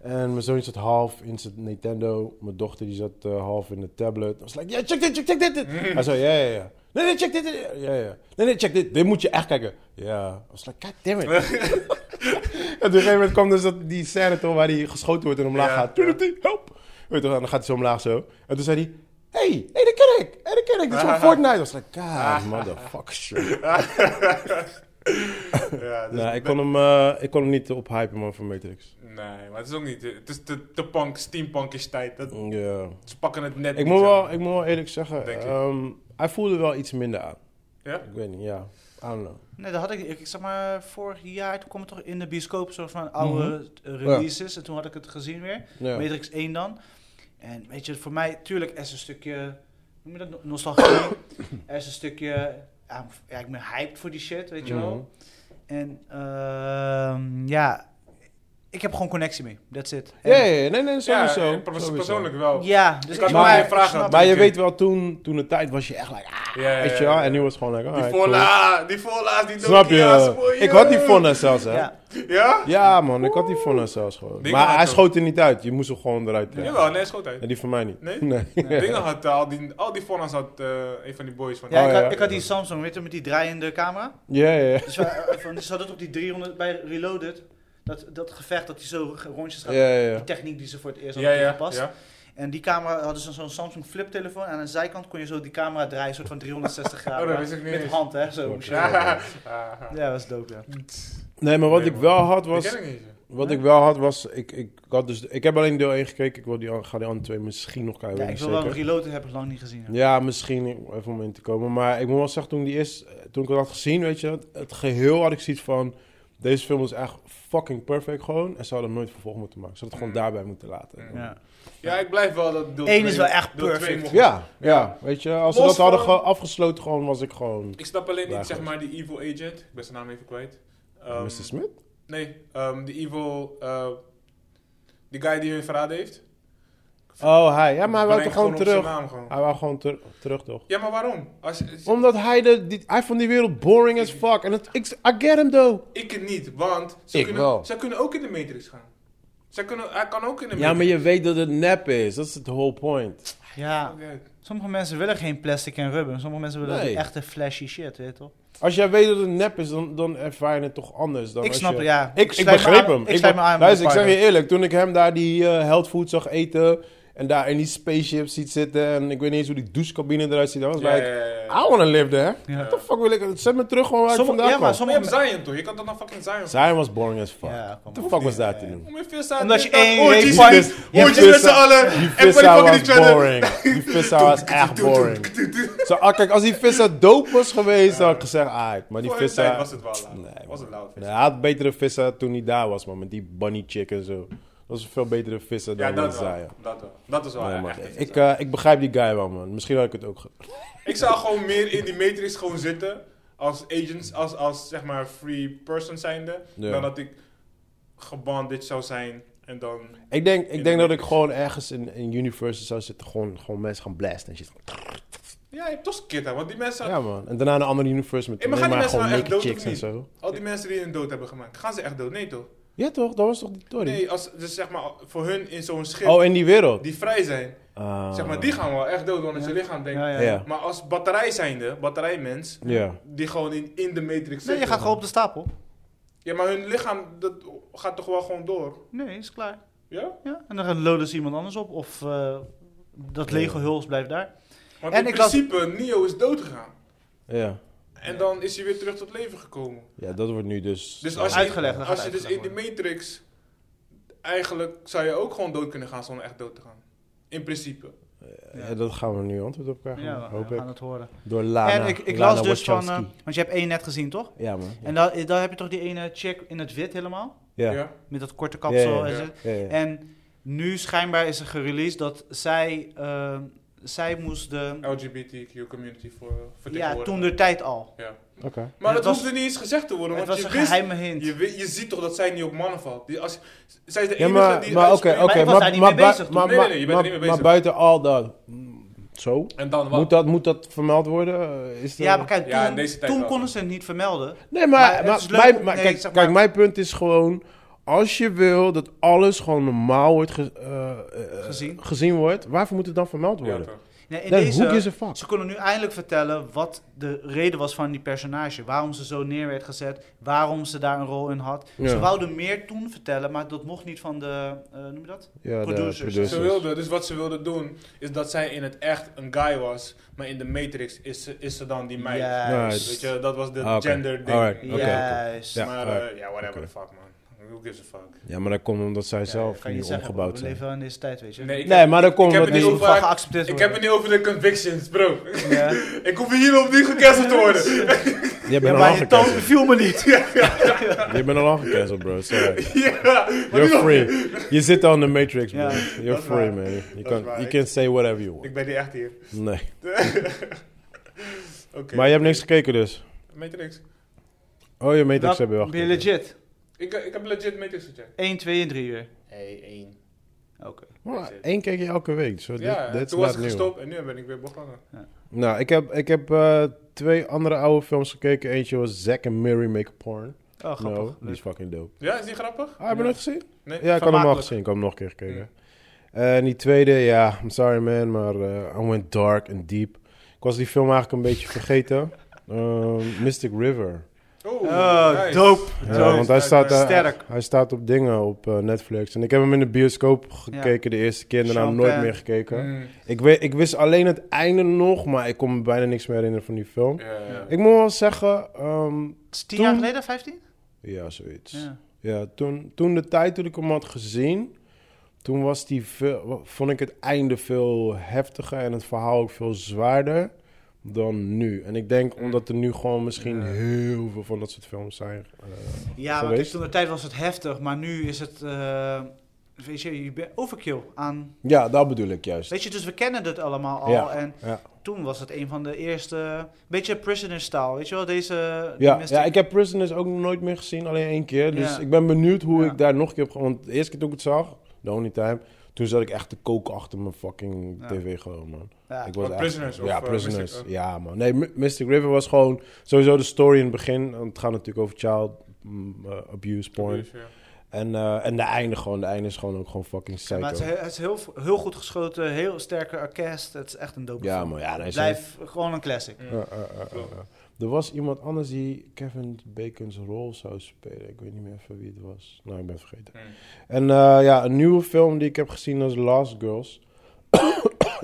A: En mijn zoon zat half in zijn Nintendo. Mijn dochter die zat eh, half in de tablet. I was like, ja, check dit, check dit, check dit.
C: Mm.
A: Hij zei, ja, ja, ja. Nee, nee, check dit. dit. Ja, ja. Nee, nee, check dit. Dit moet je echt kijken. Ja. I was like, god damn it. en op een gegeven moment kwam dus dat, die scène toch waar hij geschoten wordt en omlaag
C: Ja,
A: gaat.
C: ja.
A: Tududu, Help. Weet je, wel, en dan gaat hij zo omlaag zo. En toen zei hij, hey, hey, dat ken ik. Hey, dat ken ik. Dit is van Fortnite. I was like, god, motherfucker. shit.
C: Ja, dus
A: nou, ik
C: ik
A: kon, hem, eh, ik kon hem niet ophypen, man, van Matrix.
C: Nee, maar het is ook niet... Het is te, te punk, steampunkish tijd. Dat,
A: Ja.
C: ze pakken het net
A: Ik
C: niet,
A: moet,
C: zeg
A: wel,
C: maar.
A: ik moet wel eerlijk zeggen,
C: Denk ik.
A: ehm, hij voelde wel iets minder aan.
C: Ja?
A: Ik weet niet, ja. I don't know.
B: Nee, dat had ik, ik zeg maar, vorig jaar, toen kwam het toch in de bioscoop, soort van oude eh, releases. En toen had ik het gezien weer.
A: Mhm. Ja.
B: Matrix 1 dan. En weet je, voor mij, tuurlijk, er is een stukje, noem je dat, no- nostalgie. er is een stukje, ja, m- ja, ik ben hyped voor die shit, weet
A: Mhm.
B: je wel. En ehm, ja, ik heb gewoon connectie mee, that's it. En-
A: Ja, ja, ja, nee, nee,
C: Ja,
A: sowieso.
C: eh, pers-
A: sowieso.
C: persoonlijk wel.
B: Ja, dus
C: Ik had
B: ik-
A: wel
B: maar-
A: meer
C: vragen.
B: snap
A: Maar je
C: Oké.
A: weet wel, toen, toen de tijd was je echt like, ah,
C: Ja, ja, ja,
A: weet je
C: ja,
A: wel.
C: ja.
A: En nu was het gewoon like,
C: Die
A: alright, cool.
C: Volla, die Volla's, die
A: Snap je?
C: Nokia's, boy,
A: Ik had die
C: yo.
A: Fonna zelfs, hè. Ja.
B: Ja,
C: Ja?
A: man, ik had die Fonna zelfs gewoon.
C: Die
A: Maar
C: had
A: hij
C: hem.
A: schoot er niet uit. Je moest hem gewoon eruit trekken.
C: Jawel, nee, schoot uit.
A: En die van mij niet.
C: Nee?
A: Nee.
C: Dingen had eh, al die, al die Volla's had eh, een van die boys van...
B: ja,
A: Oh,
B: ik, had,
A: ja.
B: ik had die Samsung, weet je, met die draaiende camera.
A: Ja, ja, ja.
B: Dus we, eh, van, ze hadden het op die 300 bij Reloaded. Dat, dat gevecht dat hij zo ge- rondjes gaat.
A: Ja, ja,
B: Die
A: ja.
B: techniek die ze voor het eerst
C: ja,
B: hadden
C: ja,
B: toegepast.
C: ja.
B: En die camera hadden ze zo'n Samsung fliptelefoon. En aan de zijkant kon je zo die camera draaien, een soort van 360 graden.
C: Oh, dat wist ik niet
B: Met de
C: eens.
B: hand, hè? Zo.
A: Fuck.
C: Ja,
A: Ja.
C: Ah,
B: Ja, dat is dope, ja.
A: Nee, maar wat
C: Nee,
A: ik
C: man.
A: wel had
C: die
A: was...
C: ken ik niet.
A: Wat ik wel had was, ik, ik, had dus, ik heb alleen deel 1 gekeken. Ik wil die, an- ga die andere twee misschien nog kijken.
B: ja
A: weet
B: ik
A: niet
B: wil wel
A: zeker.
B: Reloaded heb ik lang niet gezien. hè.
A: Ja, misschien even om in te komen. Maar ik moet wel zeggen, toen, die eerst, toen ik dat had gezien, weet je, het geheel had ik zoiets van... Deze film is echt fucking perfect gewoon. En ze hadden er nooit vervolg moeten maken. Ze hadden het gewoon daarbij moeten laten.
B: Ja.
C: Ja, ik blijf wel dat deel
B: Eén
C: twee-
B: is wel echt
C: deel twee
B: perfect.
C: mocht-
A: Ja, ja, weet je, als ze
C: Los
A: dat hadden
C: van-
A: ge- afgesloten, gewoon was ik gewoon.
C: Ik snap alleen
A: Ja,
C: niet, zeg
A: goed.
C: maar, die evil agent. Ik ben zijn naam even kwijt. Ehm,
A: Mr. Smith?
C: Nee, ehm, die evil... eh, die guy die hun verraden heeft.
A: Oh, hij. Ja, maar hij wou
C: Breng
A: toch gewoon
C: op zijn
A: terug.
C: naam gewoon.
A: Hij wou gewoon ter- terug, toch?
C: Ja, maar waarom? Als,
A: Omdat hij de. Die, hij vond die wereld boring as fuck. En het, ik, I get him, though.
C: ik het niet, want ze
A: Ik
C: kunnen,
A: wel.
C: Zij kunnen ook in de Matrix gaan. Zij kunnen, hij kan ook in de
A: Ja, maar
C: Matrix.
A: je weet dat het nep is. Dat is het whole point.
B: Ja. Sommige mensen willen geen plastic en rubber. Sommige mensen willen
A: Nee.
B: die echte flashy shit, weet je toch?
A: Als jij weet dat het nep is, dan, dan ervaar je het toch anders. Dan
B: Ik
A: als
B: snap
A: je-
B: het, ja.
A: Ik, ik
B: sluit me
A: begreep
B: aan-
A: hem.
B: Ik sluit me
A: be-
B: aan. met
A: Luister, ik zeg
B: Pardo.
A: je eerlijk. Toen ik hem daar die eh health food zag eten... en daar in die spaceship ziet zitten... en ik weet niet eens hoe die douchecabine eruit ziet... dan was ik like, I wanna live there.
B: Ja.
A: What the fuck wil ik... Zet me terug gewoon waar
B: Sommige-
A: ik vandaan
B: ja, maar
A: kwam.
B: sommige mensen...
C: Zion toch? Je kan dat dan fucking Zion.
A: Zion was boring as fuck.
B: Ja,
A: What
B: kom
A: the
B: op.
A: fuck was daar te doen?
C: Om je vis aan
B: Omdat
C: te- Oh,
B: je één
C: oortjes
B: reet-
C: fight,
A: vis- die
C: oortjes met z'n
A: vissa-
C: allen.
A: Die
C: En van die
A: vissa was
C: fucking each other.
A: boring. Die vissa was echt boring. Zo, ah, kijk, als die vissa dope was geweest, dan had ik gezegd, ah, maar die
C: Voor hun tijd
A: vissa...
C: was het wel loud.
A: Nee,
C: was het loud.
A: Nee, hij had betere vissa toen hij daar was, man. Met die bunny chick en zo. Dat was een veel betere vissa
C: Ja,
A: dan ja,
C: dat
A: Zion.
C: wel. Dat wel. Dat is wel
A: Nee,
C: echt
A: man.
C: een
A: Ik, eh, ik begrijp die guy wel, man. Misschien had ik het ook... ge-
C: Ik zou gewoon meer in die matrix gewoon zitten. Als agents, als, als zeg maar free person zijnde.
A: Ja.
C: Dan dat ik gebandaged zou zijn. En dan...
A: Ik denk,
C: In
A: ik denk
C: de
A: dat ik gewoon ergens in, in Universe zou zitten. Gewoon, gewoon mensen gaan blasten en shit.
C: Ja, je hebt toch skit hè, want die mensen...
A: Ja, man. En daarna een andere Universe met
C: Hey, maar
A: alleen
C: gaan die
A: maar gewoon
C: mensen nou echt
A: naked
C: dood
A: chicks
C: of
A: en
C: niet?
A: zo.
C: Al die mensen die hun dood hebben gemaakt. Gaan ze echt dood? Nee toch?
A: Ja, toch? Dat was toch die Tory?
C: Nee, als, dus zeg maar voor hun in zo'n schip.
A: Oh, in die wereld?
C: Die vrij zijn.
A: Ah.
C: Zeg maar, die gaan wel echt dood, want in zijn lichaam denken.
B: Ja, ja.
A: Ja.
C: Maar als batterij zijnde, batterijmens,
A: Eh, Ja.
C: die gewoon in, in de matrix
B: Nee,
C: zitten.
B: je gaat gewoon op de stapel.
C: Ja, maar hun lichaam, dat gaat toch wel gewoon door?
B: Nee, is klaar.
C: Ja?
B: Ja, en dan loden ze iemand anders op. Of eh, dat lege huls blijft daar.
C: Want
B: En
C: in
B: ik las-
C: principe, Neo is dood gegaan.
A: Ja.
C: En dan is hij weer terug tot leven gekomen.
A: Ja, dat wordt nu dus...
C: Dus als je,
B: Uitgelegd, dat
C: als
B: gaat
C: je dus in
B: uitgelegd
C: de matrix... Eigenlijk zou je ook gewoon dood kunnen gaan zonder echt dood te gaan. In principe.
A: Ja, eh, dat gaan we nu antwoord op krijgen,
B: Ja,
A: hoop
B: we
A: ik.
B: gaan het horen.
A: Door Lana.
B: en ik, ik
A: Lana
B: las dus van...
A: Wachowski.
B: eh, want je hebt één net gezien, toch?
A: ja, man.
B: En dan, dan heb je toch die ene chick in het wit helemaal?
A: Ja. Ja.
C: Ja?
B: Met dat korte kapsel
A: Ja, ja,
B: en
C: ja.
B: zo.
A: Ja, ja.
B: En nu schijnbaar is er gereleased dat zij... eh, zij moest de...
C: LGBTQ community voor
B: Ja,
C: vertegenwoordigen.
B: toen de tijd al.
C: Ja.
A: Oké.
C: Maar
B: Het
C: dat
B: was-
C: hoefde niet eens gezegd te worden,
B: Het
C: want
B: was
C: je
B: een
C: wist...
B: geheime hint.
C: Je, weet- je ziet toch dat zij niet op mannen valt. Die, als, zij is de
A: Ja,
C: enige
A: maar
C: die
A: maar oké,
C: uitspreekt-
A: oké.
B: ik was daar
A: Maar
B: niet
A: maar
B: mee
A: bui-
B: bezig toen.
A: maar-
C: Nee, nee, nee, je bent er
A: maar-
C: niet mee
A: maar
C: bezig.
A: buiten al dat... mm, Zo?
C: En dan wat?
A: Moet dat, moet dat vermeld worden? Eh, Is er-
B: Ja, maar kijk, toen,
C: Ja, in deze tijd
B: toen
C: wel.
B: konden ze het niet vermelden.
A: Nee,
B: Maar
A: maar,
B: het
A: maar,
B: is leuk
A: mijn-
B: om-
A: maar
B: nee,
A: kijk,
B: zeg
A: kijk,
B: maar-
A: mijn punt is gewoon... Als je wil dat alles gewoon normaal wordt ge- eh, eh,
B: Gezien.
A: gezien wordt... Waarvoor moet het dan vermeld
C: Ja,
A: worden?
C: toch.
B: Nee, in
A: Nee,
B: deze,
A: who gives a fuck?
B: Ze konden nu eindelijk vertellen wat de reden was van die personage. Waarom ze zo neer werd gezet. Waarom ze daar een rol in had.
A: Ja.
B: Ze wouden meer toen vertellen, maar dat mocht niet van de... eh, noem je dat?
A: ja, de
B: Producers.
A: producers.
C: Ze wilde, dus wat ze wilde doen, is dat zij in het echt een guy was, maar in de Matrix is ze, is ze dan die meid.
B: Juist.
C: Weet je, dat was de
A: Ah, oké.
C: gender ding.
A: Alright, oké, oké.
B: Juist.
A: Ja,
C: Maar eh,
A: alright.
C: ja, whatever
A: Oké.
C: the fuck man. Who gives a fuck?
A: Ja, maar dat komt omdat zij zelf
B: kan je
A: nu
B: niet zeggen,
A: omgebouwd
B: we
A: zijn.
B: leven wel in deze tijd, weet je.
C: Nee, ik
A: Nee,
C: heb-
A: maar dat
C: ik-
A: komt
C: ik heb
A: omdat
C: het
A: die-
C: niet
B: moet wel
C: over haar-
B: geaccepteerd
C: Ik
B: worden.
C: heb het niet over de convictions, bro.
B: Ja.
C: ik hoef hier opnieuw gecanceld te worden.
A: Je bent
B: Ja,
A: al
B: maar je toon
A: aangecanceld.
B: beviel me niet.
A: Je bent al aangecanceld, bro. Sorry.
C: ja, maar
A: You're
C: nu nog-
A: free. Je zit al in de Matrix, bro.
B: Ja,
A: You're
C: is
A: free,
C: waar.
A: man. You
C: is
A: can,
C: waar.
A: you can say whatever you want.
C: Ik ben niet echt hier.
A: Nee.
C: Oké.
A: Maar je hebt niks gekeken dus.
C: Matrix.
A: Oh, je Matrix
B: Nou,
A: heb je wel
B: Ben je
A: gekeken.
B: legit?
C: Ik, eh, ik heb legit Matrix gecheckt.
B: 1, 2 en 3 uur.
C: Hey, één.
B: Oké.
A: Maar één keek je elke week. So
C: Ja,
A: that, that's
C: toen was
A: not
C: ik
A: new.
C: gestopt en nu ben ik weer begonnen.
A: Nou, ik heb, ik heb eh, twee andere oude films gekeken. Eentje was Zack and Mary Make a Porn.
B: Oh, grappig.
A: No, die is fucking dope.
C: Ja, is die grappig?
A: Ah, heb je
B: Ja.
A: nooit gezien?
C: Nee.
A: Ja, ik had hem al
B: Vermakelijk.
A: gezien. Ik had hem nog een keer gekeken. Eh, en die tweede, ja, I'm sorry man, maar eh I went dark and deep. Ik was die film eigenlijk een beetje vergeten. Ehm, Mystic River.
B: Oh,
C: Oh, nice.
B: dope.
A: Ah, Ja,
C: Zo,
A: want hij
C: nice,
A: staat,
C: nice.
A: eh,
B: Sterk.
A: hij staat op dingen op eh, Netflix. En ik heb hem in de bioscoop gekeken de eerste keer en daarna
B: Champagne.
A: nooit meer gekeken.
C: Mm.
A: Ik, weet, ik wist alleen het einde nog, maar ik kon me bijna niks meer herinneren van die film.
C: Ja, ja.
A: Ik moet wel zeggen, ehm,
B: 10 jaar
A: Toen-
B: geleden, 15?
A: ja, zoiets.
B: Ja.
A: Ja, toen, toen de tijd toen ik hem had gezien, toen was die veel, vond ik het einde veel heftiger en het verhaal ook veel zwaarder dan nu. En ik denk omdat er nu gewoon misschien heel veel van dat soort films zijn. eh,
B: Ja, want
A: Geweest.
B: toen de tijd was het heftig, maar nu is het. eh, weet je, je bent overkill aan.
A: ja, dat bedoel ik juist.
B: Weet je, dus we kennen dat allemaal al.
A: Ja,
B: En
A: ja.
B: toen was het een van de eerste. Beetje prisoner-style, weet je wel? Deze.
A: Ja,
B: domestic-
A: ja, ik heb Prisoners ook nooit meer gezien, alleen één keer. Dus
B: Ja.
A: ik ben benieuwd hoe
B: Ja.
A: ik daar nog een keer op... ga- Want de eerste keer toen ik het zag, The Only Time... Toen zat ik echt te koken achter mijn fucking
B: Ja.
A: tv gewoon, man.
B: Ja.
A: Ik
C: Wat, Prisoners of,
A: Ja,
C: eh,
A: Prisoners.
C: Mystic-
A: ja, man. Nee, Mi- Mystic River was gewoon sowieso de story in het begin. Want het gaat natuurlijk over child mm, eh, abuse porn.
C: Dus, ja.
A: En, eh, en de einde gewoon. De einde is gewoon ook gewoon fucking psycho.
B: Maar het is, heel, het is heel, heel goed geschoten, heel sterke orkest. Het is echt een dope
A: ja,
B: film.
A: man. Ja, nee, zo-
B: Blijf gewoon een classic.
A: Eh,
C: Mm.
A: eh, eh, eh, eh. Er was iemand anders die Kevin Bacon's rol zou spelen. Ik weet niet meer even wie het was. Nou, ik ben het vergeten.
C: Hmm.
A: En eh, ja, een nieuwe film die ik heb gezien is Last Girls.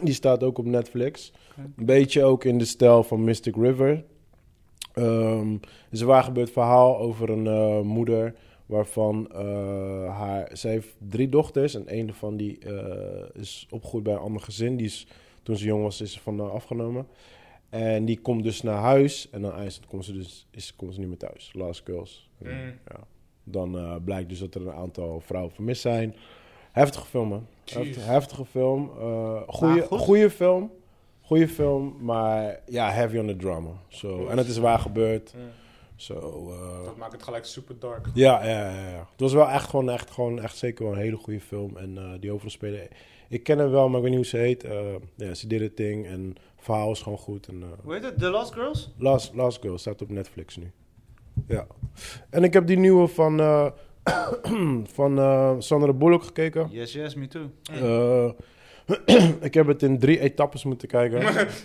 A: die staat ook op Netflix.
B: Oké.
A: Een beetje ook in de stijl van Mystic River. Ehm, is een waar gebeurd verhaal over een eh, moeder waarvan eh, haar... Zij heeft drie dochters en een van die eh, is opgegroeid bij een ander gezin. Die is, toen ze jong was, is ze van haar afgenomen. En die komt dus naar huis en dan eindelijk komt ze dus is, komt ze niet meer thuis. Last Girls.
C: Mm.
A: Ja. Dan eh, blijkt dus dat er een aantal vrouwen vermist zijn. Heftige film, man.
C: Jeez.
A: Heft- heftige film. eh goeie,
B: goed.
A: goeie film. Goeie film, maar ja, heavy on the drama. So, en het is waar gebeurd.
C: Mm.
A: So, eh,
C: Dat maakt het gelijk super dark.
A: ja, ja, ja, ja. Het was wel echt gewoon, echt gewoon, echt zeker wel een hele goede film. En eh, die hoofdrolspeler, ik ken hem wel, maar ik weet niet hoe ze heet. Eh, Ja, ze did het ding en het verhaal is gewoon goed. En, eh,
B: Hoe heet het? The Lost Girls?
A: Last, Last Girl staat op Netflix nu. Ja. En ik heb die nieuwe van, eh, van eh, Sandra Bullock gekeken.
B: Yes, yes, me too.
A: Eh, ik heb het in drie etappes moeten kijken.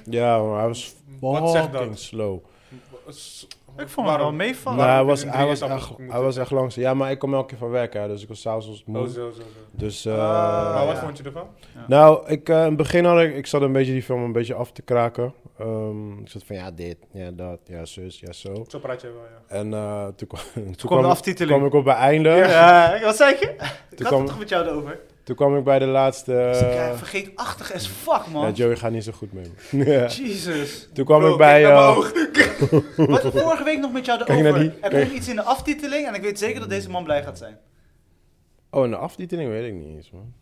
A: ja, maar hij was
C: Wat zegt dat?
A: fucking slow.
C: S-
B: Ik vond hem
C: Waarom?
B: wel meevallen.
A: Nou, hij
C: heb je
A: was,
C: in
A: hij,
C: drie
A: was
C: etappes
A: echt,
C: moeten?
A: hij was echt langzaam. Ja, maar ik kom elke keer van werk, hè, dus ik was s'avonds moe.
C: Oh, zo, zo, zo.
A: Dus, eh,
B: Ah,
C: maar wat
B: ja.
C: vond je ervan?
A: Nou, ik, eh, in het begin had ik, ik zat een beetje die film een beetje af te kraken. Ehm, ik zat van ja, dit, ja, dat, ja, zus, ja, zo.
C: Zo praat je wel, ja.
A: En eh, toen, kwam- toen
B: Kom de
A: kwam,
B: aftiteling.
A: kwam ik op het einde.
B: Ja, wat zei je? Ik had
A: kwam-
B: het toch met jou over?
A: Toen kwam ik bij de laatste. eh,
B: vergeet vergeetachtig as fuck,
A: ja,
B: man.
A: Joey gaat niet zo goed mee. Ja.
B: Jesus.
A: Toen kwam
C: Bro,
A: ik bij.
C: kijk naar mijn
A: eh,
C: oog.
B: Wat we vorige week nog met jou
A: Kijk naar
B: over.
A: die.
B: Er
A: Kijk.
B: komt iets in de aftiteling en ik weet zeker dat deze man blij gaat zijn.
A: oh, een aftiteling weet ik niet eens, man.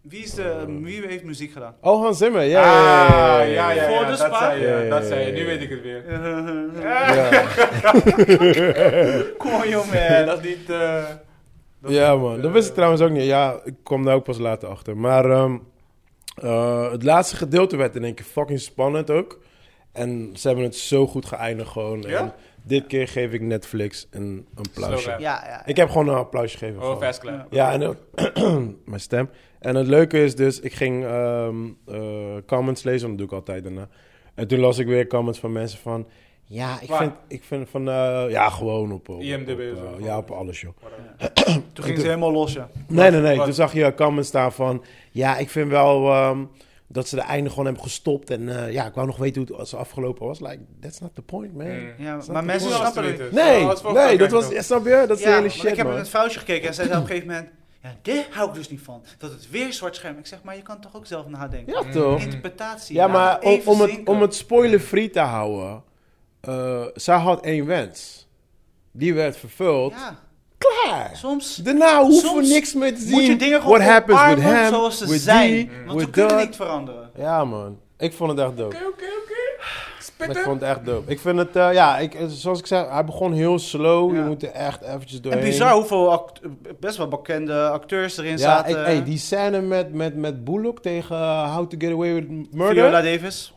B: Wie, is de, wie heeft muziek gedaan?
A: Oh, Hans Zimmer, ja. ja,
C: Ah,
A: ja, ja, ja.
B: Voor de
C: dat
B: spa?
C: zei je,
A: Ja, ja,
C: dat
A: ja,
C: zei je.
A: ja,
C: Nu
A: ja.
C: weet ik het weer.
A: Ja.
B: Kom on, jongen.
C: dat is niet... eh, dat-
A: Ja, man. Dat wist ik
C: eh,
A: trouwens ook niet. Ja, ik kwam daar ook pas later achter. Maar ehm, eh, het laatste gedeelte werd in één keer fucking spannend ook. En ze hebben het zo goed geëindigd gewoon.
C: Ja?
A: En dit keer geef ik Netflix een een
C: Slow
A: applausje.
C: rap.
B: Ja, ja.
A: Ik heb gewoon een applausje gegeven.
C: Oh,
A: gewoon.
C: fast clap.
A: Ja, en ook mijn stem. En het leuke is dus, ik ging ehm, eh, comments lezen, want dat doe ik altijd daarna. En toen las ik weer comments van mensen van... Ja, ik
C: Waar?
A: vind, ik vind van... eh, ja, gewoon op... op
C: IMDb
A: op,
C: of
A: eh,
C: zo.
A: ja, op alles, joh.
B: Toen ging ze helemaal los, ja.
A: Nee, nee, nee.
C: Wat?
A: Toen zag je comments staan van... Ja, ik vind wel ehm, dat ze de einde gewoon hebben gestopt. En eh, ja, ik wou nog weten hoe het ze afgelopen was. Like, that's not the point, man.
C: Mm.
B: ja
A: Snap
B: maar
A: ik.
B: mensen
C: Hoe was
B: snappen
C: het
B: het.
C: niet?
A: Nee,
C: Oh, het vorige
A: nee,
C: keer
A: dat was...
C: nog.
A: Snap je? Dat is de
B: Ja,
A: hele
B: want ik
A: shit,
B: heb dus- in
A: man.
B: het vuistje gekeken en zij zei op een gegeven moment... Ja, dit hou ik dus niet van. Dat het weer zwart scherm. Ik zeg, maar je kan toch ook zelf nadenken?
A: Ja, toch?
B: Interpretatie.
A: Ja,
B: laat
A: maar om,
B: even
A: om, het,
B: zinken.
A: om het spoiler-free te houden. eh, zij had één wens. Die werd vervuld.
B: Ja,
A: Klaar.
B: soms...
A: Daarna hoeven we
B: Soms
A: niks meer te zien.
B: Moet je dingen gewoon
A: What happens with
B: omarmen
A: hem,
B: zoals ze
A: with
B: zijn.
A: die,
B: want we
A: with
B: kunnen
A: that.
B: niet veranderen.
A: Ja, man. Ik vond het echt dope.
C: Oké, oké, oké.
A: Ik
C: Spitten.
A: vond het echt dope. Ik vind het, eh, ja, ik, eh, zoals ik zei, hij begon heel slow. Je
B: Ja.
A: moet er echt eventjes
B: En
A: doorheen.
B: bizar hoeveel act- best wel bekende acteurs erin
A: Ja,
B: zaten.
A: ik, hey, die scène met, met, met Bullock tegen eh, How to Get Away with Murder.
B: Viola Davis.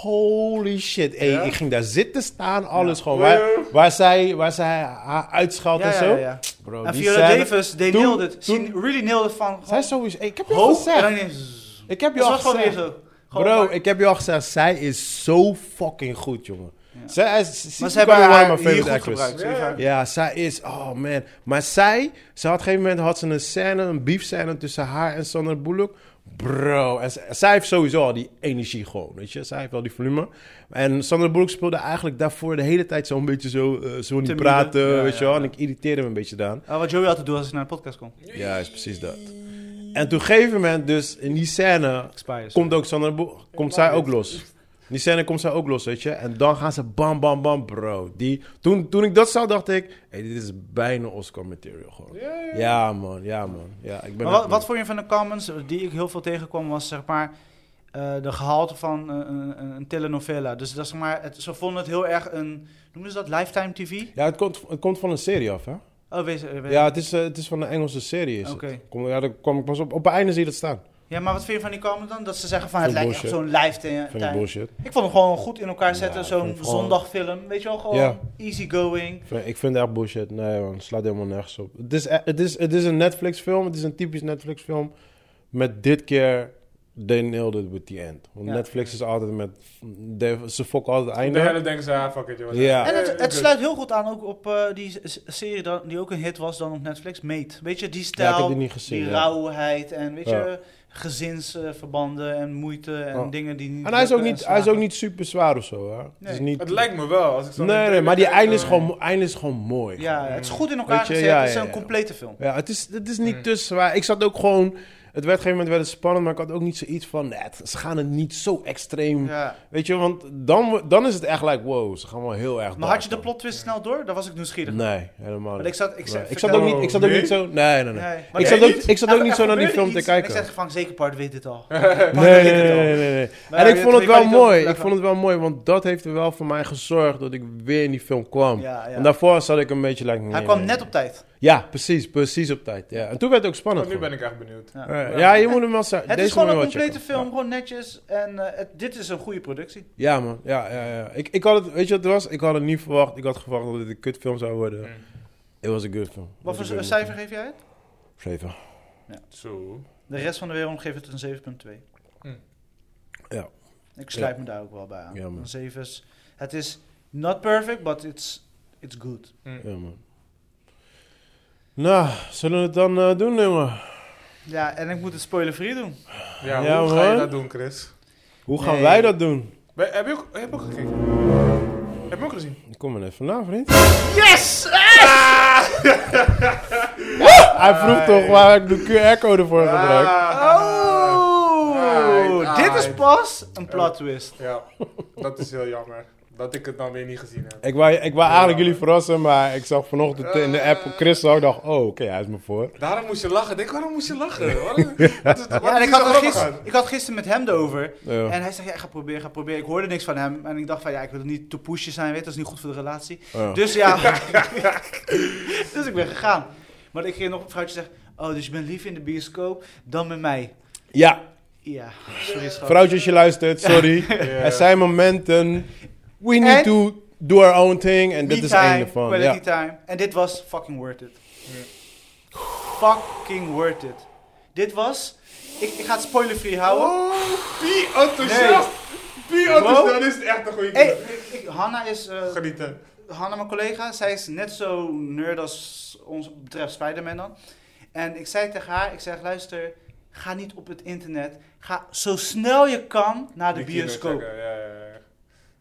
A: Holy shit. Hey,
C: Ja?
A: Ik ging daar zitten staan, alles gewoon.
C: Wow.
A: Waar, waar, zij, waar zij haar uitschalt en
B: ja,
A: zo.
B: ja, ja.
A: Bro,
B: En
A: Oh, die
B: Viola
A: scène-
B: Davis, they
A: toen-
B: nailed it. She
A: toen-
B: really nailed it van...
A: Zij is sowieso... hey, ik heb je al
B: hoog. En dan
A: gezegd.
B: ineens-
A: Ik heb je
B: Ze
A: al
B: was gewoon weer
A: gezegd.
B: zo. Gewoon
A: Bro,
B: maar-
A: ik heb je al gezegd. Zij is zo fucking goed, jongen.
B: Ja.
A: Zij is...
B: Maar
A: she's
B: ze hebben
A: probably
B: haar
A: one of my
B: hier
A: favorite
B: goed
A: actress.
B: gebruikt.
C: Ja, ja.
A: Ja, zij is... Oh, man. Maar zij... Ze had op een gegeven moment had ze een scène, een beef scène tussen haar en Sandra Bullock. Bro. En z- zij heeft sowieso al die energie gewoon, weet je. Zij heeft al die volume. En Sandra Bullock speelde eigenlijk daarvoor de hele tijd zo'n beetje zo... eh, ze wil niet
B: Timide.
A: praten,
B: Ja,
A: weet
B: ja,
A: je wel.
B: ja.
A: En ik irriteerde me een beetje daaraan.
B: Ah, wat Joey altijd doet als ik naar de podcast kom.
A: Ja, is precies dat. En toen op een gegeven moment dus in die scène...
B: Expires.
A: Komt ook Sandra Bo- komt zij ook los. Die scène komt zij ook los, weet je. En dan gaan ze bam, bam, bam, bro. Die, toen, toen ik dat zag, dacht ik... Hey, dit is bijna Oscar material gewoon. Ja, man. Ja, man. Ja, ik ben
B: Maar wat,
A: echt-
B: wat vond je van de comments die ik heel veel tegenkwam, was zeg maar eh, de gehalte van eh, een, een, een telenovela. Dus dat is zeg maar, het, ze vonden het heel erg een, noemen ze dat, lifetime tv?
A: Ja, het komt, het komt van een serie af, hè?
B: Oh, wees, eh, wees-
A: Ja, het is, eh, het is van een Engelse serie. Is het.
B: Oké.
A: Kom, ja, daar kwam ik pas op. Op het einde zie je dat staan.
B: Ja, maar wat vind je van die comments dan? Dat ze zeggen van, het
A: Vind ik
B: lijkt echt op zo'n
A: Vind ik
B: lifetime.
A: bullshit.
B: Ik vond hem gewoon goed in elkaar zetten,
A: Ja, ik
B: zo'n
A: vind het gewoon-
B: zondagfilm. Weet je wel, gewoon
A: Ja.
B: easygoing.
A: Ik vind- Ik vind het echt bullshit. Nee, man. Het slaat helemaal nergens op. Het is, e- het is, het is een Netflix-film. Het is een typisch Netflix-film. Met dit keer... They nailed it with the end. Want
B: Ja.
A: Netflix is altijd met... they- ze fokken altijd het
C: De hele
A: einde.
C: denken ze, ah, fuck it, joh.
A: Ja.
B: En het, het
C: Eh,
B: sluit heel goed aan ook op eh, die s- s- serie dan, die ook een hit was dan op Netflix, Mate. Weet je, die
A: Ja, ik heb
B: stijl,
A: die niet
B: die
A: gezien. ja.
B: rauwheid en weet
A: Ja.
B: je, gezinsverbanden en moeite en
A: Oh.
B: dingen die niet...
A: En hij is ook
B: lukken en
A: niet, hij is ook
B: slagen.
A: niet super zwaar of zo, hè? Het is
B: Nee.
A: niet...
C: Het lijkt me wel. Als ik zo
A: nee,
C: naar
A: nee,
C: de
A: maar die
C: trailer
A: einde is
C: kijk,
A: gewoon, einde is gewoon mooi.
B: Ja, het is goed in elkaar
A: Weet je,
B: gezet,
A: ja,
B: het is
A: ja,
B: een
A: ja.
B: complete film.
A: Ja, het is, het is niet
C: Mm.
A: te zwaar. Ik zat ook gewoon... Het werd op een gegeven moment werd het spannend, maar ik had ook niet zoiets van... Nee, het- ze gaan het niet zo extreem...
B: Ja.
A: Weet je, want dan, wo- dan is het echt like... Wow, ze gaan wel heel erg
B: Maar
A: dark,
B: had je de
A: man.
B: plot twist snel door? Daar was ik nieuwsgierig.
A: Nee, helemaal
B: Want
A: niet.
B: ik zat, ik
A: Nee,
B: zat,
A: ik zat ook niet, ik zat ook
C: Nee?
A: niet zo... Nee, nee,
B: Nee.
A: nee.
B: Nou,
A: Ik
C: jij
A: zat ook,
C: niet?
A: ik zat ook niet zo naar die film te
B: Ik
A: kijken.
B: zeg van, zeker Bart weet dit al.
A: Nee, nee, nee, nee, nee, nee.
B: Maar
A: En
B: Nou, je-
A: ik vond
B: je
A: het
B: kan
A: wel
B: niet over
A: mooi. Ik
B: lachen.
A: vond het wel mooi, want dat heeft er wel voor mij gezorgd dat ik weer in die film kwam.
B: Ja, ja.
A: En daarvoor zat ik een beetje... Like, nee,
B: Hij kwam
A: nee.
B: net op tijd.
A: Ja, precies. Precies op tijd. Ja. En toen werd het ook spannend.
C: Oh, nu ben
A: gewoon.
C: ik echt benieuwd.
B: Ja.
A: Ja, ja, je moet hem wel
B: Het
A: zeggen. Eh, Deze
B: is gewoon
A: moet
B: een
A: je wel
B: complete
A: checken.
B: film, gewoon netjes. En eh, het- dit is een goede productie.
A: Ja, man. Ja, ja, ja. Ik, ik had het, weet je wat het was? Ik had het niet verwacht. Ik had verwacht dat het een kutfilm zou worden.
C: Mm.
A: It was a good film.
B: Wat
A: It
B: voor
A: was a
B: een
A: good
B: cijfer geef jij het?
A: film. Zeven.
C: Zo.
B: De rest van de wereld geeft het een 7.2.
C: Hm.
A: Ja.
B: Ik sluit me daar ook wel bij aan.
A: Ja, man.
B: een 7 is... Het is not perfect, but it's, it's good.
A: Ja, man. Nou, zullen we het dan eh, doen, jongen?
B: Ja, en ik moet het spoiler-free doen.
C: Ja,
A: Ja,
C: hoe ga je
A: man.
C: dat doen, Chris?
A: Hoe gaan
B: Nee.
A: wij dat doen?
C: Ben- heb, je ook, heb je ook gekeken? Heb je ook gezien?
A: Kom maar even vandaan, vriend.
B: Yes! Ah!
A: Hij vroeg toch waar ik de QR-code voor
B: Ah.
A: gebruik.
C: Ah.
B: Oh!
C: Right,
B: dit is
C: right.
B: pas een plot twist.
C: Ja, dat is heel jammer. Dat ik het dan weer niet gezien heb.
A: Ik wou, ik wou eigenlijk jullie verrassen, maar ik zag vanochtend in de
B: Ah.
A: app Chris al. Ik dacht, oh, oké, hij is me voor.
C: Daarom moest je lachen. Ik denk, waarom moest je lachen? Waarom- Wat is- wat
B: Ja, en
C: is
B: ik had,
C: hier zo
B: er
C: grappig
B: gisteren,
C: aan?
B: ik had gisteren met hem erover.
A: Ja.
B: En hij zei, ja, ik ga proberen, ga proberen. Ik hoorde niks van hem. En ik dacht van, ja, ik wil niet te pushen zijn, weet je, Dat is niet goed voor de relatie.
A: Ja.
B: Dus ja, dus ik ben gegaan. Maar ik ging nog een vrouwtje zeggen, oh, dus je bent liever in de bioscoop dan met mij.
A: ja,
B: Ja, sorry schat.
A: Vrouwtje, als je luistert, sorry. Er zijn momenten. We need to do our own thing. En dit
B: Me
A: is
B: time,
A: het einde van.
B: Quality
A: Ja.
B: time. En dit was fucking worth it. Fucking worth it. Dit was... Ik, ik ga het spoiler-free houden.
C: Oh, wie enthousiast! Wie enthousiast!
B: Wow.
C: Dit is echt een goede
B: Hey,
C: keer.
B: ik- ik- Hanna is... eh,
C: Genieten.
B: Hanna, mijn collega, zij is net zo nerd als ons betreft Spider-Man dan. En ik zei tegen haar, ik zeg, luister, ga niet op het internet. Ga zo snel je kan naar de
C: Die kino
B: bioscoop.
C: checken, Ja, ja, ja.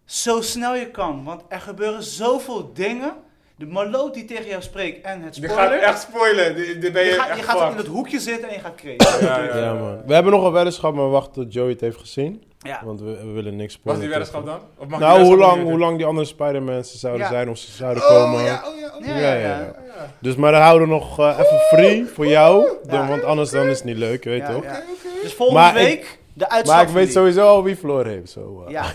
B: Zo snel je kan, want er gebeuren zoveel dingen. De maloot die tegen jou spreekt en het
C: Je gaat
B: spoiler.
C: echt spoilen. Dit dit ben je,
B: je, gaat-
C: echt
B: je gaat in
C: fucked.
B: het hoekje zitten en je gaat kregen.
C: Ja, ja,
A: Ja, man. We hebben nog een weddenschap, maar we wachten tot Joey het heeft gezien.
B: Ja.
A: Want we, we willen niks
C: Was
A: spoilen.
C: die weddenschap dan? Of
A: Nou,
C: mag die
A: hoe
C: weddenschap
A: lang,
C: niet
A: hoe
C: weten?
A: lang die andere Spider-Man zouden
B: Ja.
A: zijn of ze zouden
C: Oh
A: komen.
C: ja, oh ja, oh
B: Ja,
C: ja.
A: Ja,
B: ja,
A: ja,
B: ja.
A: ja. Dus maar dan houden we nog eh, even free voor jou.
B: Ja.
A: dan- Want anders dan is het niet leuk, je weet
B: Ja,
A: toch?
B: ja.
C: Oké, oké.
B: Dus volgende
A: Maar ik-
B: week de uitslag.
A: Maar ik
B: van
A: weet
B: die.
A: sowieso al wie verloren heeft. Zo, eh.
B: Ja.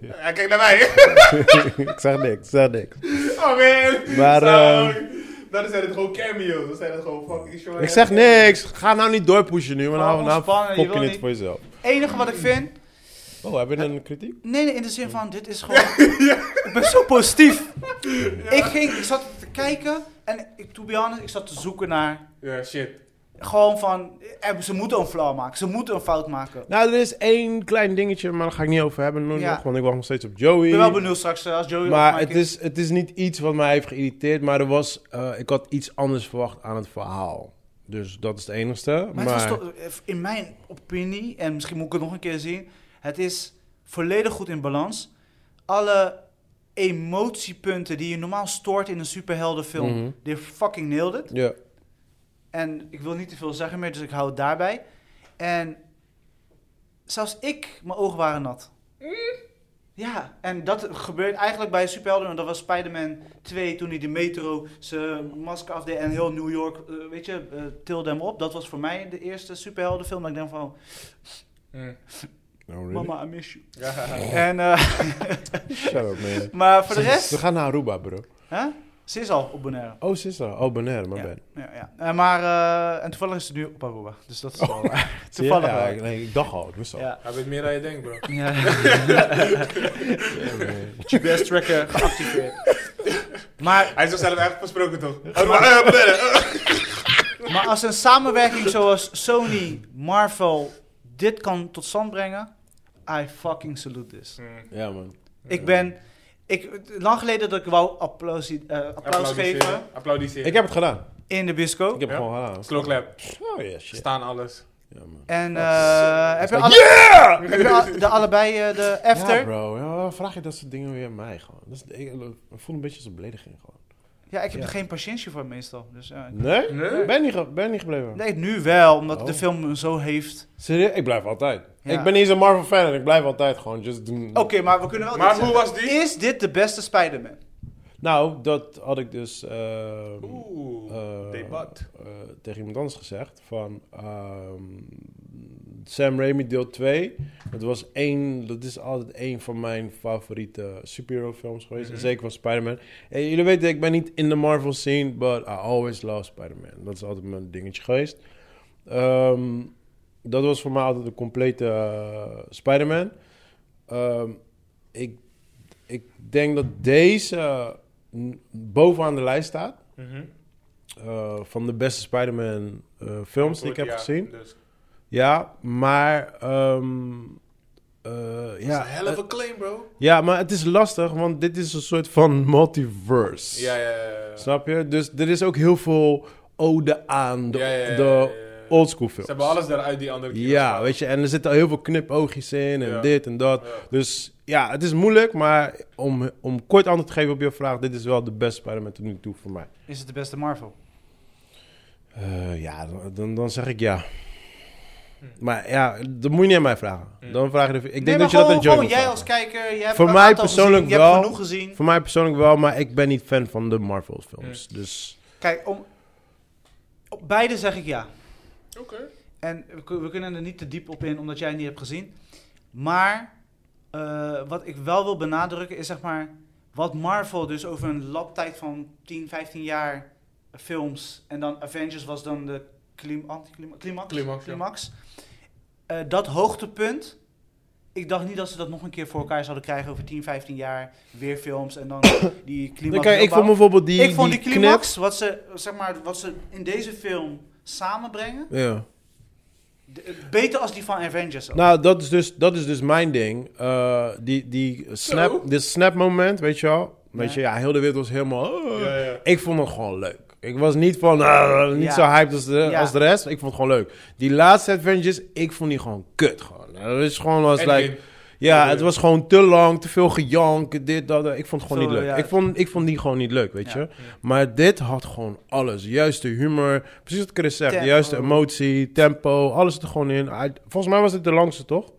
C: Ja, kijk naar mij.
A: ik zeg niks, ik zeg niks.
C: Oh man.
A: Maar, eh,
C: Sorry. Dan zijn het gewoon cameo's. Dan zijn het gewoon fucking short.
A: Ik zeg niks. Ga nou niet doorpushen nu, want
B: Gewoon
A: nou, nou
B: ontspannen, je
A: fok je
B: wil
A: het
B: niet-
A: voor jezelf.
B: enige wat ik vind.
A: Oh, heb je een kritiek?
B: Nee, nee, in de zin van, dit is gewoon... Ik ben zo positief. Ik, ging, ik zat te kijken en ik, to be honest, ik zat te zoeken naar...
C: Ja, shit.
B: Gewoon van, eh, ze moeten een flauw maken. Ze moeten een fout maken.
A: Nou, er is één klein dingetje, maar daar ga ik niet over hebben. nu
B: Ja.
A: nog, want ik wacht nog steeds op Joey.
B: Ik ben wel benieuwd straks eh, als Joey...
A: Maar
B: opmaakt
A: het is, het is niet iets wat mij heeft geïrriteerd, maar er was, eh, ik had iets anders verwacht aan het verhaal. Dus dat is het enigste.
B: Maar
A: Maar,
B: het was toch, eh, in mijn opinie, en misschien moet ik het nog een keer zien... Het is volledig goed in balans. Alle emotiepunten die je normaal stoort in een superheldenfilm...
A: Mhm.
B: They fucking nailed it.
A: Ja.
B: En ik wil niet te veel zeggen meer, dus ik hou het daarbij. En zelfs ik, mijn ogen waren nat. Ja, en dat gebeurt eigenlijk bij Superhelden. Want dat was Spider-Man 2 toen hij de metro zijn masker afdeed en heel New York, eh, weet je, eh, tilde hem op. Dat was voor mij de eerste Superheldenfilm. Dat ik denk van,
C: Mm.
A: No, Nou, really?
B: mama, I miss you.
C: Ja.
B: En, eh,
A: Shut up, man.
B: maar voor de
A: We
B: rest,
A: gaan naar Aruba, bro.
B: hè? ze is al op Bonaire.
A: Oh, Sissa. Oh, Bonaire, my
B: Ja,
A: bad.
B: ja, ja. Eh, maar, eh, en toevallig is het nu op Aruba. Dus dat is
A: Oh.
B: wel waar. Toevallig
A: Ja,
B: wel.
A: ik- nee, ik dacht al. Ik wist al.
B: Ja.
C: Hij weet meer dan je denkt, bro.
B: Ja.
A: Ja, man.
B: GPS tracker geactiveerd. maar,
C: Hij is zichzelf eigenlijk versproken, toch? Hm.
B: maar als een samenwerking zoals Sony, Marvel dit kan tot stand brengen, I fucking salute this.
C: Mm.
A: Ja, man.
B: Ik ben, ik, lang geleden dat ik wou applausi- eh, applaus geven
C: Applaudisseren. Applaudisseren.
A: Ik heb het gedaan.
B: in de bisco.
A: Ik heb het
C: Ja?
A: gewoon gedaan.
C: Slow clap.
A: Oh, ja, shit.
C: Staan alles.
A: Ja, man.
B: En eh, heb je, alle, heb je al- de allebei eh, de after?
A: Ja, bro. Ja, waarom vraag je dat soort dingen weer aan mij, gewoon. Dat is, ik, ik voel een beetje als een belediging, gewoon.
B: Ja, ik heb
A: Ja.
B: er geen patiëntie voor meestal. Dus, ja.
A: Nee?
C: Nee?
A: Ben niet, ge- ben niet gebleven.
B: Nee, nu wel, omdat
A: Oh.
B: de film me zo heeft.
A: Serieus? Ik blijf altijd.
B: Ja.
A: Ik ben niet eens een Marvel fan en ik blijf altijd gewoon just doen.
B: Oké, maar we kunnen wel.
C: Maar
B: dit
C: hoe
B: zeggen.
C: was die?
B: Is dit de beste Spider-Man?
A: Nou, dat had ik dus ehm,
C: Oeh.
A: eh,
C: debat.
A: eh, tegen iemand anders gezegd. Van ehm, Sam Raimi deel 2. Dat was één, dat is altijd één van mijn favoriete superhero films geweest. en
C: Mhm.
A: Zeker van Spider-Man. En jullie weten, ik ben niet in de Marvel scene, but I always love Spider-Man. Dat is altijd mijn dingetje geweest. Ehm, dat was voor mij altijd de complete eh, Spider-Man. Ehm, ik, ik denk dat deze n- bovenaan de lijst staat.
C: Mhm.
A: eh, van de beste Spider-Man eh, films die ik heb
C: Ja,
A: gezien.
C: Dus.
A: Ja, maar... ehm, eh,
C: Ja,
A: ja,
C: hell of
A: eh,
C: a claim, bro.
A: ja, maar het is lastig, want dit is een soort van multiverse.
C: Ja, ja, ja. ja.
A: Snap je? Dus er is ook heel veel ode aan de,
C: Ja, ja, ja, ja,
A: de
C: ja, ja.
A: oldschool films.
C: Ze hebben alles eruit die andere keer.
A: Ja, weet je, en er zitten heel veel knipoogjes in en
C: Ja.
A: dit en dat. Dus ja, het is moeilijk, maar om, om kort antwoord te geven op je vraag, dit is wel de beste Spider-Man tot nu toe voor mij.
B: Is het de beste Marvel?
A: Eh, ja, dan, dan zeg ik ja.
B: Hm.
A: Maar ja, dat moet je niet aan mij vragen. Dan vraag je de, ik denk dat je dat aan
B: gewoon,
A: Joey
B: gewoon
A: moet
B: jij
A: vragen.
B: als kijker. Je hebt
A: Voor
B: een
A: mij
B: aantal
A: persoonlijk
B: gezien, Je
A: wel.
B: hebt genoeg gezien.
A: Voor mij persoonlijk wel, maar ik ben niet fan van de Marvel films.
B: Hm.
A: Dus
B: Kijk, om, op beide zeg ik ja.
C: Oké.
B: En we, kun- we kunnen er niet te diep op in, omdat jij het niet hebt gezien. Maar eh, wat ik wel wil benadrukken is zeg maar. Wat Marvel dus over een labtijd van 10, 15 jaar films. En dan Avengers was dan de klim, anticlima- climax.
C: Climax, ja.
B: climax. Eh, dat hoogtepunt. Ik dacht niet dat ze dat nog een keer voor elkaar zouden krijgen over 10, 15 jaar. Weer films en dan die climax.
A: kijk, ik
B: opbouwen
A: vond bijvoorbeeld die,
B: ik vond die,
A: knip-
B: climax, wat ze, zeg maar, wat ze in deze film samenbrengen,
A: Ja.
B: d- beter als die van Avengers. ook.
A: Nou, dat is dus, dat is dus mijn ding. Eh, die, die
C: Zo.
A: snap, dit snap moment, weet je wel. Weet
B: Ja.
A: je, ja, heel de wereld was helemaal... oh.
C: Ja, ja.
A: Ik vond het gewoon leuk. Ik was niet van, ah, niet
B: Ja.
A: zo hyped als de,
B: Ja.
A: als de rest. Ik vond het gewoon leuk. Die laatste Avengers, ik vond die gewoon kut. Gewoon. Dat is gewoon als,
C: Endgame.
A: like, ja,
C: Endgame.
A: het was gewoon te lang, te veel gejank, dit, dat. dat. Ik vond het gewoon
B: Zo,
A: niet leuk.
B: ja.
A: Ik, vond, ik vond die gewoon niet leuk, weet
B: Ja.
A: je. Maar dit had gewoon alles. Juist de humor, precies wat Chris zegt.
B: Tempo.
A: De juiste emotie, tempo, alles zit er gewoon in. Hij- Volgens mij was dit de langste, toch?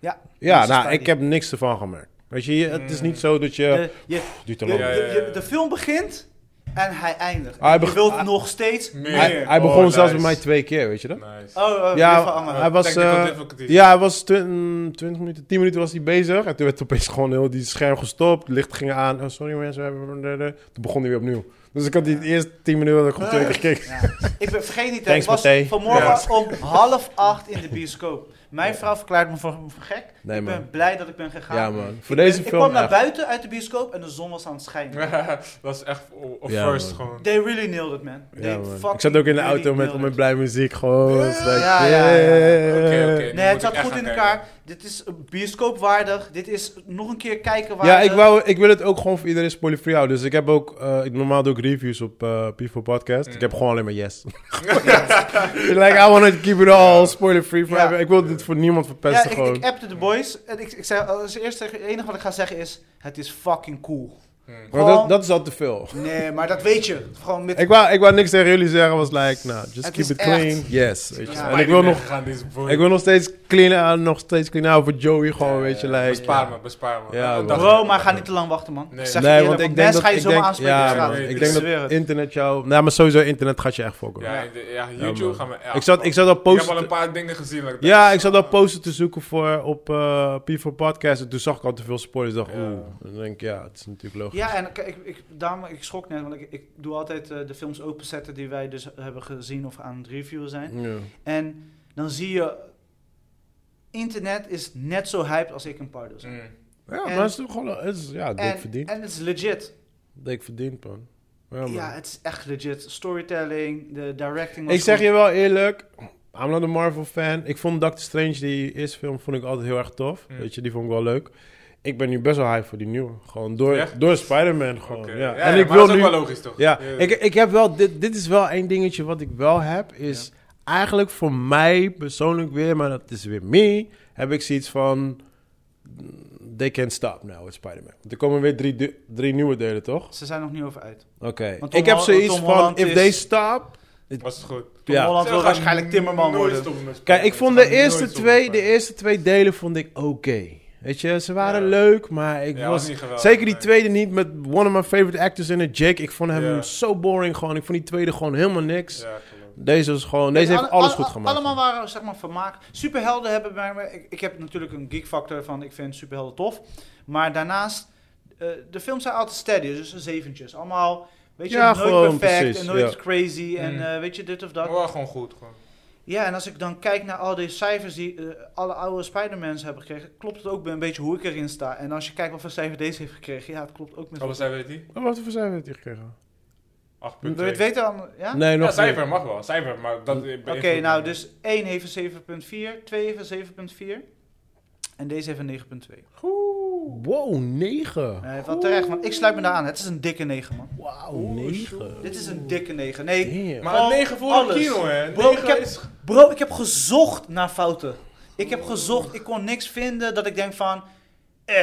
B: Ja.
A: Ja,
B: Minstens
A: nou,
B: vijftien.
A: ik heb eh, niks ervan gemerkt. Weet je, je- het is niet zo dat je...
B: De, je-
A: Pff, duurt te
B: Mm. de,
A: lang.
C: Ja, ja, ja.
B: de- je- de film begint en hij eindigt.
A: Hij
B: je
A: beg-
B: wilt
A: hij-
B: nog steeds
C: Meer.
A: Hij,
B: meer.
A: hij begon
C: Oh,
A: zelfs
C: nice.
A: bij mij twee keer, weet je dat?
C: Nice.
B: Oh, eh,
A: Ja,
B: weer van Anger.
A: hij was,
C: Technical
A: eh,
C: difficulties.
A: Ja, hij was 20 minuten, 10 minuten was hij bezig. En toen werd opeens gewoon heel die scherm gestopt. Licht ging aan. Oh, sorry mensen, we hebben... Toen begon hij weer opnieuw. Dus ik had die eerste 10 minuten dat ik gewoon
B: Eh,
A: twee keer gekeken.
B: Ja. Ik ben, vergeet niet, hè,
A: Thanks,
B: ik was
A: Matthee.
B: vanmorgen om half acht in de bioscoop. Mijn vrouw verklaart me voor, voor gek.
A: Nee,
B: ik ben
A: man.
B: blij dat ik ben gegaan.
A: Ja, man. Voor
B: Ik ben-
A: deze
B: ik
A: film
B: kwam naar
A: echt.
B: buiten uit de bioscoop en de zon was aan het schijnen.
C: dat was echt o- o-
A: Ja,
C: first
A: man.
C: gewoon.
B: They really nailed it, man. They
A: Ja, man.
B: fucking
A: Ik zat ook in de
B: really
A: auto met,
B: nailed
A: met
B: it.
A: blij muziek. Gewoon. Het is like,
B: Ja, ja, ja, ja.
A: yeah.
C: Oké, oké. Nu
B: Nee, het
C: moet ik
B: zat
C: echt
B: goed
C: gaan
B: in
C: kijken.
B: elkaar. Dit is bioscoopwaardig. Dit is nog een keer kijken
A: Ja,
B: waardig.
A: ik, wou, ik wil het ook gewoon voor iedereen spoiler-free houden. Dus ik heb ook... eh, ik, normaal doe ik reviews op eh People Podcast.
C: Mm.
A: Ik heb gewoon alleen maar yes. like, I want to keep it all
B: Ja.
A: spoiler-free. forever. Ik wil dit voor niemand
B: ja,
A: verpesten
B: ik, eh,
A: gewoon.
B: ik appte de boys. En ik, ik zei als eerste, het enige wat ik ga zeggen is... Het is fucking cool.
A: Maar dat, dat is al te veel.
B: Nee, maar dat weet je. Gewoon met...
A: Ik wou, ik wou niks tegen jullie zeggen, was like, nou, just
B: Het
A: keep
B: is
A: it
B: echt.
A: clean. Yes.
C: dus
A: weet je.
B: Ja.
A: En ik wil, nog,
C: gaan deze boy.
A: ik wil nog steeds clean aan, nog steeds clean aan voor Joey gewoon, weet je, like.
C: Bespaar me, bespaar me.
A: Ja,
C: Dat-
A: bro.
C: dat-
B: Bro, maar ga niet te lang wachten, man.
C: Nee.
B: Ik zeg
A: Nee,
B: je eerlijk,
A: want
B: want
A: ik
B: mensen
A: denk dat,
B: ga je
A: ik
B: zomaar
A: denk-
B: aanspreken
A: ja,
B: op straat.
A: man, ik
C: Ik
A: denk
B: zweer
A: dat
B: het.
A: internet jou... Nou, maar sowieso internet gaat je echt fokken.
C: Ja, ik- ja,
A: Ja,
C: YouTube
A: man.
C: gaan we... ja,
A: ik, zat, ik
C: man.
A: zat al
C: Ik heb al
A: posten...
C: een paar dingen gezien. like dat.
A: ja, ik zat al posten te zoeken voor, op eh P4 Podcast. En toen zag ik al te veel spoilers. Ik dacht,
C: Ja.
A: oeh. Dan denk ik, ja, het is natuurlijk logisch.
B: Ja, en ik, ik, ik, daarom, ik schrok net, want ik, ik doe altijd eh, de films openzetten die wij dus hebben gezien of aan het reviewen zijn.
A: Ja.
B: En dan zie je, internet is net zo hyped als ik een Pardo zijn.
C: Mm.
A: Ja,
B: En-
A: maar het is toch gewoon... Het is, ja, dik
B: En,
A: verdiend.
B: en het is legit.
A: Dik verdiend, man. Ja, man.
B: Ja, het is echt legit. Storytelling, de directing was
A: Ik zeg
B: goed.
A: je wel eerlijk, I'm not a Marvel fan. Ik vond Doctor Strange, die eerste film, vond ik altijd heel erg tof.
C: Mm.
A: Weet je, die vond ik wel leuk. Ik ben nu best wel hype voor die nieuwe. Gewoon door,
C: Echt?
A: door Spider-Man gewoon.
C: Oké.
A: Ja.
C: Ja,
A: en
C: ja,
A: ik
C: maar
A: wil
C: dat
A: nu...
C: is ook wel logisch, toch?
A: Ja, ik, ik heb wel... Dit, dit is wel één dingetje wat ik wel heb, is... Eigenlijk voor mij persoonlijk weer, maar dat is weer me... heb ik zoiets van... mm, They can't stop now with Spider-Man. Want Er komen weer drie, du- drie nieuwe delen, toch?
B: Ze zijn nog niet over uit.
A: Oké.
B: Want Tom
A: Ik heb
B: Hol-
A: zoiets
B: Tom
A: van...
B: Holland
A: If
B: is-
A: they stop...
C: Was het goed.
B: Tom
A: Ja.
B: Holland
C: Ze
B: wil
C: gaan
B: waarschijnlijk Timmerman
C: nooit
B: worden.
C: stoppen
A: Kijk,
C: met spelen.
A: ik
C: Ze
A: vond
C: gaan
A: de eerste,
C: nooit stoppen
A: twee,
C: met
A: de
C: spelen.
A: eerste twee delen vond ik oké. Weet je, ze waren
C: Ja.
A: leuk, maar ik
C: Ja, was
A: was...
C: niet geweldig,
A: zeker die
C: nee.
A: tweede niet met one of my favorite actors in it, Jake. Ik vond hem
C: Ja.
A: zo boring gewoon. Ik vond die tweede gewoon helemaal niks.
C: Ja, klopt.
A: Deze was gewoon... Deze heeft
B: Alle-
A: alles
B: alle-
A: goed gemaakt.
B: Allemaal waren zeg maar vermaak. Superhelden hebben bij mij. Ik, ik heb natuurlijk een geek factor van ik vind superhelden tof. Maar daarnaast, eh, de films zijn altijd steady, dus een zeventjes. Allemaal, weet je,
A: Ja,
B: nooit
A: gewoon,
B: perfect
A: precies,
B: en nooit
A: ja.
B: crazy en
C: Mm.
B: eh, weet je, dit of
C: Maar
B: dat.
C: wel gewoon goed. Gewoon.
B: Ja, en als ik dan kijk naar al die cijfers die eh, alle oude Spider-Mans hebben gekregen, klopt het ook een beetje hoe ik erin sta. En als je kijkt wat voor cijfer deze heeft gekregen, ja, het klopt ook met...
C: Alles zij weet die?
A: Oh, wat voor cijfer heeft hij gekregen?
C: 8.2.
B: Wil je het weten dan? Ja?
A: Nee, nog Hm.
C: Ja,
A: niet.
C: cijfer mag wel. Cijfer, maar dat...
B: Oké, nou, dus 1 heeft een 7.4, 2 heeft een 7.4 en deze heeft een 9.2.
A: Wow, 9.
B: Nee, wat Eh, terecht, want ik sluit me daar aan. Het is een dikke 9, man.
A: Wauw, 9.
B: Dit is een dikke 9. Nee,
C: Maar een
B: Al-
C: 9 voor
B: alles.
C: een kino, hè.
B: Bro,
C: Negen
B: ik heb-
C: is-
B: bro, ik heb gezocht naar fouten. Ik heb gezocht, ik kon niks vinden dat ik denk van... Eh.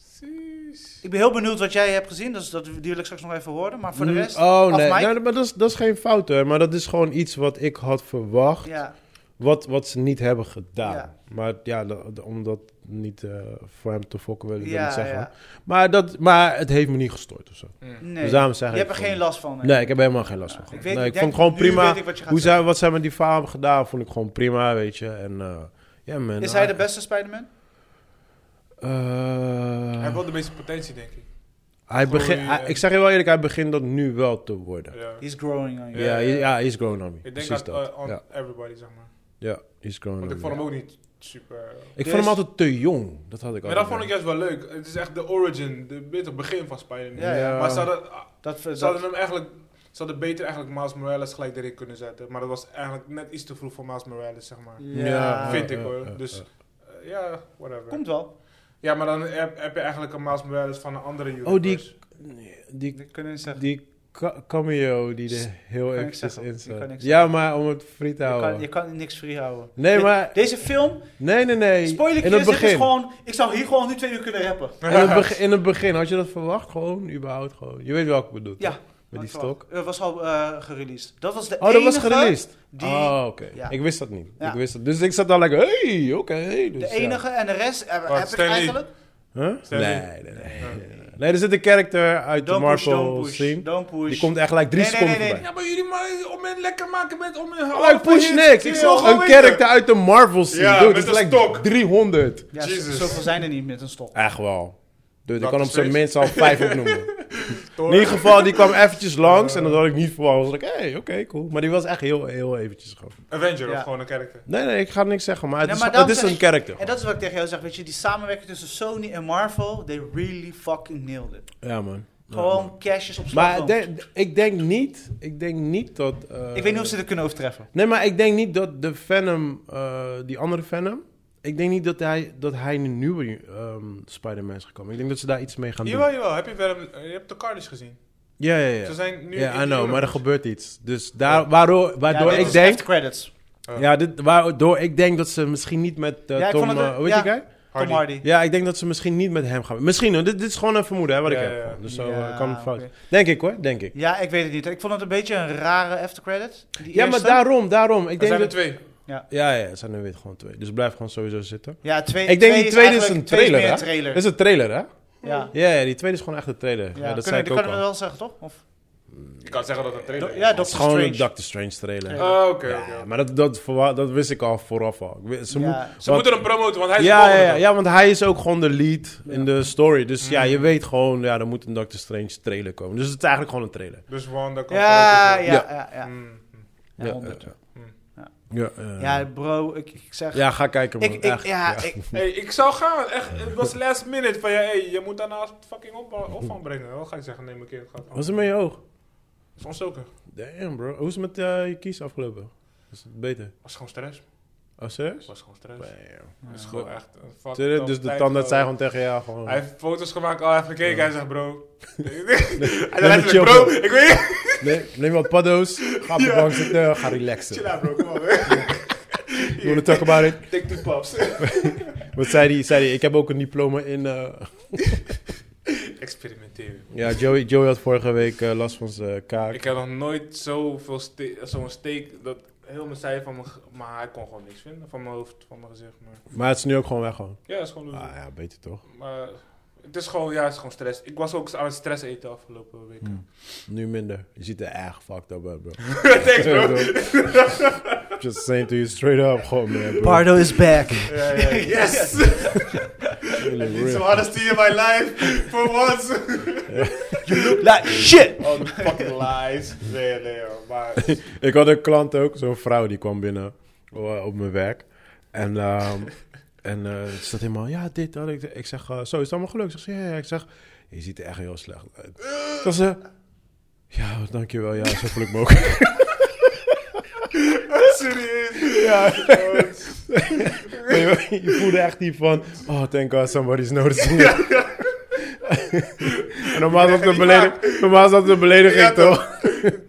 C: Precies.
B: Ik ben heel benieuwd wat jij hebt gezien, dus dat wil ik straks nog even horen. Maar voor de rest,
A: Oh,
B: af
A: nee.
B: Mike.
A: nee maar dat is, dat is geen fout, hè. Maar dat is gewoon iets wat ik had verwacht.
B: ja.
A: Wat, wat ze niet hebben gedaan.
B: Ja.
A: Maar ja, da- da- om dat niet eh, voor hem te fokken wil ik dat
B: Ja,
A: niet zeggen.
B: ja.
A: Maar, dat, maar het heeft me niet gestoord of zo.
B: Nee,
A: Dus daarom zeg
B: je
A: ik
B: hebt er
A: van-
B: geen last van. hè?
A: Nee, ik heb helemaal geen last van.
B: Ik
A: gehad.
B: weet-
A: nee,
B: ik
A: ik
B: denk,
A: vond het gewoon
B: nu
A: prima.
B: weet ik wat je gaat
A: Hoe zij, wat zij met die verhaal hebben gedaan, vond ik gewoon prima, weet je. En eh, ja, man.
B: Is hij de beste Spider-Man?
A: Eh,
C: Hij heeft wel de meeste potentie, denk ik.
A: hij
C: Goeie,
A: begint, hij-
C: eh,
A: ik zeg je wel eerlijk, hij begint dat nu wel te worden.
C: Ja.
B: He's growing on you.
A: Ja, ja, hij is grown on me.
C: Ik denk
A: Precies
C: dat,
A: dat.
C: eh, on
A: ja.
C: everybody, zeg maar.
A: ja, hij is grown
C: Want
A: on
C: ik vond
A: me.
C: hem ook niet super...
A: Ik
B: Dus-
A: vond hem altijd te jong. Dat had ik
C: Maar dat vond ik juist wel leuk. Het is echt de origin, de, weet je, het begin van Spider-Man.
B: Ja, ja.
C: Maar ze hadden,
B: Dat,
C: Ze hadden
B: dat,
C: hem eigenlijk... Ze hadden beter eigenlijk Miles Morales gelijk erin kunnen zetten. Maar dat was eigenlijk net iets te vroeg voor Miles Morales, zeg maar.
B: ja.
A: Ja.
C: Vind
A: eh,
C: ik hoor.
A: eh,
C: dus
A: eh.
C: eh, ja, whatever.
B: komt wel.
C: Ja, maar dan heb, heb je eigenlijk een Miles Morales van een andere universe.
A: Oh, die, die
B: Dat kunnen we niet zeggen.
A: Die ca- cameo die er heel
B: kan ik
A: eventjes
B: zeggen.
A: in
B: Die kan ik
A: zat.
B: zeggen.
A: Ja, maar om het free te
B: Je kan, je
A: houden.
B: kan niks free houden.
A: Nee,
B: Dit-
A: maar-
B: Deze film,
A: Nee, nee, nee.
B: spoiler
A: in het
B: kids, dit is
A: begin.
B: gewoon... Ik zou hier gewoon nu twee uur kunnen rappen.
A: In het, beg- in het begin. Had je dat verwacht? Gewoon, überhaupt gewoon. Je weet welke ik bedoel.
B: Ja.
A: toch? Met die
B: Had ik verwacht.
A: stok.
B: Eh, was al eh, gereleased. Dat was de
A: Oh, dat was
B: enige...
A: gereleased.
B: die-
A: Oh, oké.
B: Ja.
A: Ik wist dat niet.
B: Ja.
A: Ik wist dat. Dus ik zat daar lekker, hey, oké. Dus,
B: De
A: ja.
B: enige en de rest eh, heb ik
C: Stan Lee.
B: eigenlijk...
A: Huh?
C: Stan
A: Nee,
C: Lee.
A: nee, nee, nee. nee. Nee, er zit een character uit Eh, de
B: Don't push,
A: Marvel
B: don't push,
A: scene.
B: don't push.
A: Die komt echt like drie
B: Nee, nee,
A: seconden
B: nee, nee.
A: voorbij.
C: Ja, maar jullie maar om het lekker maken met om een
A: Oh, ik push niks. Ik zag een character uit de Marvel scene.
C: Ja,
A: Dude,
C: met
A: dat is
C: een
A: like
C: stok.
A: 300.
B: Ja,
C: Jesus.
B: zoveel zijn er niet met een stok.
A: Echt wel. Dude, ik
C: Dat
A: kan
C: is
A: op zijn
C: niks.
A: minst al vijf opnoemen. In ieder geval, die kwam eventjes langs en dat had ik niet verwacht. was ik, hey, oké, cool. Maar die was echt heel, heel eventjes gewoon.
C: Avenger
B: Ja.
C: of gewoon een character.
A: Nee, nee, ik ga niks zeggen, maar het
B: Nee,
A: is,
B: maar
A: het
B: daarom
A: is
B: zeg
A: een
B: ik-
A: character.
B: En dat is wat ik tegen jou zeg, weet je, die samenwerking tussen Sony en Marvel, they really fucking nailed it.
A: Ja, man. Ja,
B: Gewoon
A: man.
B: cashes op slag.
A: Maar de- de- ik denk niet, ik denk niet dat... eh,
B: ik weet niet of ze dit kunnen overtreffen.
A: Nee, maar ik denk niet dat de Venom, eh, die andere Venom... Ik denk niet dat hij, dat hij in een nieuwe ehm, Spider-Man is gekomen. Ik denk dat ze daar iets mee gaan doen.
C: Jawel, jawel. Heb je, Venom, eh, je hebt de Carnage gezien.
A: Ja, ja, ja.
C: Ze zijn nu... in
A: Ja, I
C: de
A: know, maar er
C: universe.
A: gebeurt iets. Dus daar, waardoor, waardoor
B: dit
A: ik
B: is
A: denk...
B: echt credits.
A: Ja, dit, waardoor ik denk dat ze misschien niet met eh,
B: Ja, ik
A: Tom...
B: vond het-
A: eh, hoe heet
B: ja.
A: die guy?
B: Tom
C: Hardy.
B: Hardy.
A: Ja, ik denk dat ze misschien niet met hem gaan. Misschien, hoor. dit, dit is gewoon een vermoeden hè, wat
C: Ja,
A: ik
C: ja,
A: heb.
C: ja.
A: Dus zo
B: Ja,
A: eh, kan het fout.
B: oké.
A: Denk ik hoor, denk ik.
B: Ja, ik weet het niet. Ik vond het een beetje een rare aftercredit. die
A: Ja, maar
B: eerste.
A: daarom, daarom. Ik
C: Er
A: denk
C: zijn er
A: dat...
C: twee.
A: Ja, ja, het zijn er weer gewoon twee. Dus blijf gewoon sowieso zitten.
B: Ja, twee,
A: Ik denk die tweede is
B: eigenlijk-
A: een
B: twee
A: trailer,
B: meer
A: hè?
B: een trailer.
A: Dit is een trailer, hè?
B: Ja.
A: Ja, ja, die tweede is gewoon echt een trailer. Ja,
B: Ja,
A: dat
B: dat kunnen,
A: zei ik
B: dat
A: ook
B: kunnen we
A: al.
B: wel zeggen, toch? Of,
C: Je kan zeggen dat het een trailer
B: Do-
C: is.
B: ja,
A: Het is
B: Doctor
A: gewoon
B: Strange.
A: een Doctor Strange trailer.
B: Ja.
C: Oh, oké,
A: Ja,
C: oké.
A: maar dat, dat, verwa- dat wist ik al vooraf al. Ik weet- Ze,
B: Ja.
A: moet,
B: Ze
C: Ze
A: want-
C: moeten hem promoten, want hij is de
A: ja,
C: volgende.
A: ja, ja, ja, want hij is ook gewoon de lead in de story. Dus ja, je weet gewoon, ja, er moet een Doctor Strange trailer komen. Dus het is eigenlijk gewoon een trailer.
C: Dus Wanda komt
B: ja,
C: eruit.
B: ja, ja, ja, ja.
C: Mm.
B: Ja, honderd.
A: eh,
B: Ja.
A: ja, eh,
B: Ja, bro, ik, ik zeg...
A: ja, ga kijken, man.
B: ik, ik,
A: Echt,
B: ja,
A: ja.
B: ik,
C: Hey, ik zou gaan, echt. Het was last minute van ja, hey, je moet daarna fucking op, opvang brengen. Wat ga ik zeggen? Neem een keer. Het gaat
A: Wat is er met je oog?
C: Het is ontstoken.
A: Damn, bro. Hoe is het met eh, je kies afgelopen? Is het beter?
C: Het was gewoon stress.
A: Oh,
C: Het
A: serieus?
C: was gewoon stress. Het
A: Damn.
C: is gewoon echt een dus- fuck.
A: Serieus? Dus de tandarts zei gewoon tegen jou gewoon...
C: Hij heeft foto's gemaakt, al heeft gekeken. Hij zegt, bro. hij
A: neem
C: zei
A: een chill,
C: letterlijk, bro.
A: bro.
C: Ik weet niet.
A: Nee, neem wat paddo's, ga op de bank zitten, ga relaxen.
C: Chill out, bro. Kom op, hè.
A: You wanna talk about it?
C: Take two puffs.
A: Wat zei hij? Zei hij, ik heb ook een diploma in... eh,
C: Experimenteren.
A: Ja, Joey, Joey had vorige week eh, last van zijn kaak.
C: Ik heb nog nooit zoveel ste- zo'n steek dat heel mijn zij van mijn, ge- mijn haar kon gewoon niks vinden. Van mijn hoofd, van mijn gezicht. Maar...
A: Maar het is nu ook gewoon weg, gewoon.
C: Ja, dat is gewoon
A: Ah ja, beter toch?
C: Maar het is gewoon, ja, het is gewoon stress. Ik was ook aan het stress eten afgelopen week.
A: Hmm. Nu minder. Je ziet er echt fucked up uit, bro.
C: Thanks, bro.
A: Just saying to you straight up, gewoon man, bro.
B: Pardo is back.
C: Ja, ja, yes!
A: Really
C: Some
A: real.
C: honesty in my life, for once.
B: Like shit!
C: Oh, the fucking lies. Nee, nee, joh. Maar
A: Ik had een klant ook, zo'n vrouw die kwam binnen eh, op mijn werk. En, ehm en eh, ze zat helemaal, ja, dit, dat. Ik, ik zeg, eh, zo, is het allemaal gelukt? Ze zegt, ja, ja, ja. Ik zeg, je ziet er echt heel slecht uit. Dat ze, ja, dankjewel, ja, zo voel ik me ook.
C: serieus.
A: Ja.
C: Oh,
A: Maar je, je voelde echt die van, oh, thank God, somebody's noticing it. en normaal is dat een
C: niet
A: belediging, normaal is dat een belediging
C: Ja, toch?
A: toch?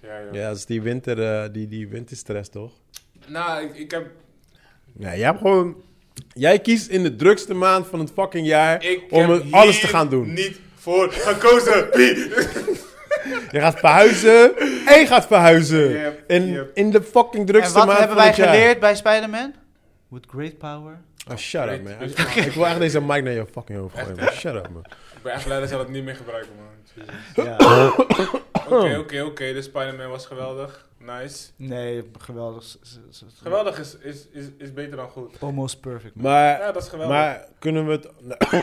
C: Ja, joh.
A: Ja, dat is die, winter, eh, die, die winterstress, toch?
C: Nou, ik, ik heb...
A: Ja, jij hebt gewoon... Jij kiest in de drukste maand van het fucking jaar
C: Ik
A: om
C: heb
A: het- alles te
C: hier
A: gaan doen.
C: niet voor gekozen. Wie?
A: Je gaat verhuizen en je gaat verhuizen.
C: Yep,
A: in,
C: yep.
A: in de
B: En
A: fucking drukste
B: wat
A: maand
B: hebben wij
A: van het jaar.
B: geleerd bij Spider-Man? With great power.
A: Ah, shut up, man.
C: Great.
A: ik wil echt deze mic naar je fucking hoofd gooien. man. Shut up, man.
C: Ik ben echt blij dat ze dat niet meer gebruiken, man. Jezus.
B: Ja.
C: Oké, oké, oké. De Spider-Man was geweldig. Nice.
B: Nee, geweldig. S- s- s- s-
C: Geweldig is, is, is, is beter dan goed.
B: Almost perfect. man.
A: Maar,
C: Ja, dat is geweldig.
A: maar kunnen we het...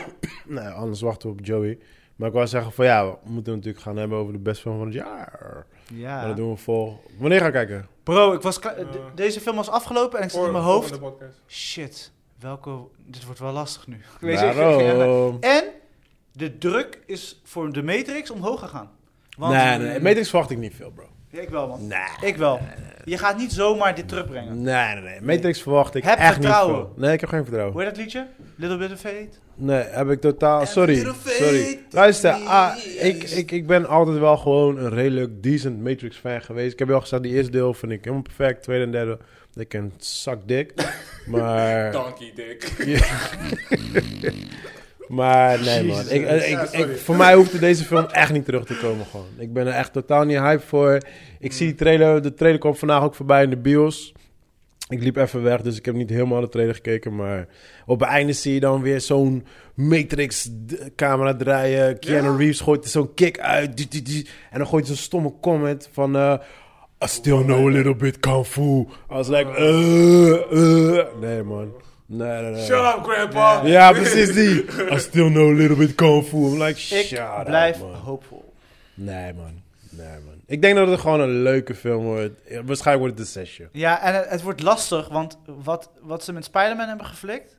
A: nee, anders wachten we op Joey. Maar ik wou zeggen van ja, we moeten het natuurlijk gaan hebben over de best film van het jaar. Maar
B: Ja.
A: dat doen we vol... Wanneer gaan we kijken?
B: Bro, ik was kla-
C: Ja.
B: de- deze film was afgelopen en ik zat in mijn
C: Eh. Voor-
B: hoofd.
C: volgende podcast.
B: Shit, welke... Dit wordt wel lastig nu. Weet je, ik-
A: Waarom?
B: En de druk is voor de Matrix omhoog gegaan. Want,
A: Nee, nee, Matrix verwacht ik niet veel, bro.
B: Ja, ik wel, man.
A: Nee.
B: Ik wel. Je gaat niet zomaar dit terugbrengen.
A: Nee, nee, nee. Matrix verwacht ik
B: Heb
A: echt
B: vertrouwen.
A: niet veel. Nee, ik heb geen vertrouwen.
B: Hoor je dat liedje? Little Bit of Fate.
A: Nee, heb ik totaal... Sorry,
C: little faith
A: sorry. Luister, ah, ik, ik, ik ben altijd wel gewoon een redelijk decent Matrix-fan geweest. Ik heb je al gezegd, die eerste deel vind ik helemaal perfect. Tweede en derde, ik kan zak dik. Maar,
C: Donkey dick.
A: maar nee man,
C: Jezus.
A: ik, eh, ik,
C: Ja,
A: ik-
C: sorry.
A: voor mij hoefde deze film echt niet terug te komen gewoon. Ik ben er echt totaal niet hype voor. Ik zie die trailer, de trailer kwam vandaag ook voorbij in de bios. Ik liep even weg, dus ik heb niet helemaal de trailer gekeken. Maar op het einde zie je dan weer zo'n Matrix-camera draaien. Keanu
C: Ja.
A: Reeves gooit er zo'n kick uit. Die, die, die. En dan gooit hij zo'n stomme comment van... eh, I still know a little bit kung fu. I was like... eh, eh. Nee, man. Nee, nee, nee.
C: Shut up, grandpa.
A: Ja, precies die. I still know a little bit kung fu. I'm like, shut
B: Ik
A: up,
B: blijf
A: man.
B: hoopvol.
A: Nee, man. Nee, man. Ik denk dat het gewoon een leuke film wordt. Ja, Waarschijnlijk wordt het een zesje.
B: Ja, en het, het wordt lastig, want wat, wat ze met Spider-Man hebben geflikt...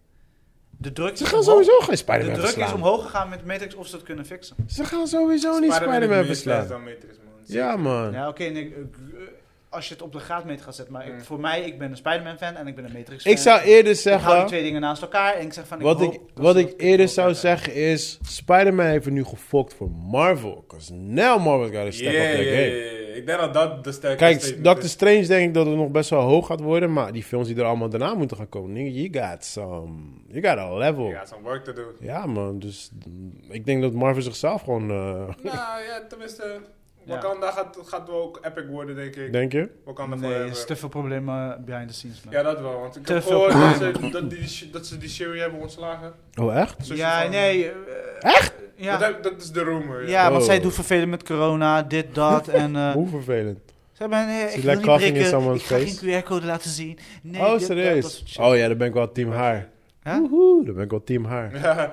B: De druk,
A: Ze
B: is
A: gaan
B: omhoog-
A: sowieso geen
B: de
A: Spider-Man
B: druk is
A: verslaan.
B: omhoog gegaan met Matrix of ze dat kunnen fixen.
A: Ze gaan sowieso niet Spider-Man
C: is meer
A: verslaan.
C: dan Matrix, man.
A: Ja, man.
B: Ja, oké, nee, eh, eh, als je het op de graadmeter gaat zetten. Maar ik-
C: Mm.
B: voor mij, ik ben een Spider-Man-fan en ik ben een Matrix-fan.
A: Ik zou eerder
B: Ik hou die
A: zeggen...
B: twee dingen naast elkaar en ik zeg van... Ik
A: Wat
B: hoop
A: ik,
B: dat ze
A: wat
B: dat
A: ik eerder
B: kunnen
A: zou
B: doen.
A: zeggen is... Spider-Man heeft het nu gefokt voor Marvel. Because now Marvel's gotta step
C: Yeah,
A: up their
C: yeah,
A: game.
C: yeah, yeah, Ik denk dat dat de sterkste
A: Kijk,
C: statement
A: Doctor Strange denk ik dat het nog best wel hoog gaat worden. Maar die films die er allemaal daarna moeten gaan komen. nigga, You got some... You got a level.
C: Ja, some work to do.
A: Ja, man. Dus mm, ik denk dat Marvel zichzelf gewoon... eh,
C: nou ja, tenminste, Wakanda gaat, gaat wel ook epic worden, denk ik.
A: denk je?
C: Wakanda
B: Nee, er is
C: forever.
B: te veel problemen behind the scenes, man.
C: Ja, dat wel. Want ik
B: Te
C: heb
B: veel
C: gehoord dat ze, dat, die, sh- dat ze die serie hebben ontslagen.
A: Oh, echt?
C: Zusje
B: Ja,
C: van-
B: nee. Echt? Ja,
C: Dat, heb- dat is de rumor.
B: ja want
A: Oh.
B: zij doet vervelend met corona, dit, dat. En, eh
A: Hoe vervelend.
B: ze hebben, eh, ik
A: She
B: wil
A: like
B: niet
A: coughing in
B: prikken,
A: someone's
B: ik ga
A: face.
B: geen QR-code laten zien. Nee,
A: oh,
B: dit, dat, dat
A: serieus?
B: soort shit.
A: Oh ja, dan ben ik wel team haar.
B: Huh?
A: Woehoe, dan ben ik wel team haar.
C: Ja,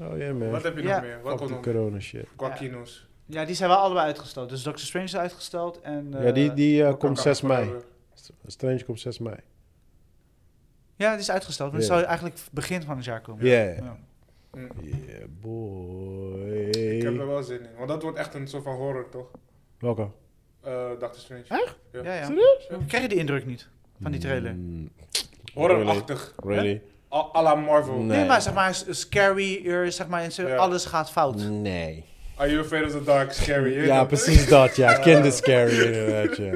A: Oh ja, man.
C: wat heb je
B: Ja.
C: nog meer? Wat
A: Fuck
C: komt
A: die
C: nog?
A: corona shit.
C: Qua
B: Ja.
C: kino's.
B: Ja, die zijn wel allebei uitgesteld. Dus Doctor Strange is uitgesteld en... eh,
A: Ja, die, die eh, komt
C: Wakanda
A: 6 mei.
C: forever.
A: Strange komt 6 mei.
B: Ja, die is uitgesteld. Maar die
A: Ja.
B: zou eigenlijk begin van het jaar komen.
A: Yeah.
B: Ja.
A: Yeah,
C: Ik heb er
A: boy.
C: wel zin in. Want dat wordt echt een soort van horror, toch?
A: Welke?
C: Eh Doctor Strange.
B: Ja,
C: Ja.
B: ja.
A: Serieus?
B: Krijg je de indruk niet van die trailer?
A: Mm,
C: Horrorachtig.
A: Really?
C: A à la Marvel.
A: Nee.
B: Nee, maar zeg maar, s- scarier, zeg maar, en zo,
C: Ja.
B: alles gaat fout.
A: Nee.
C: Are you afraid of the dark? Scary. hè?
A: Ja,
C: Dat-
A: precies dat, ja. Kinderscary, inderdaad, ja.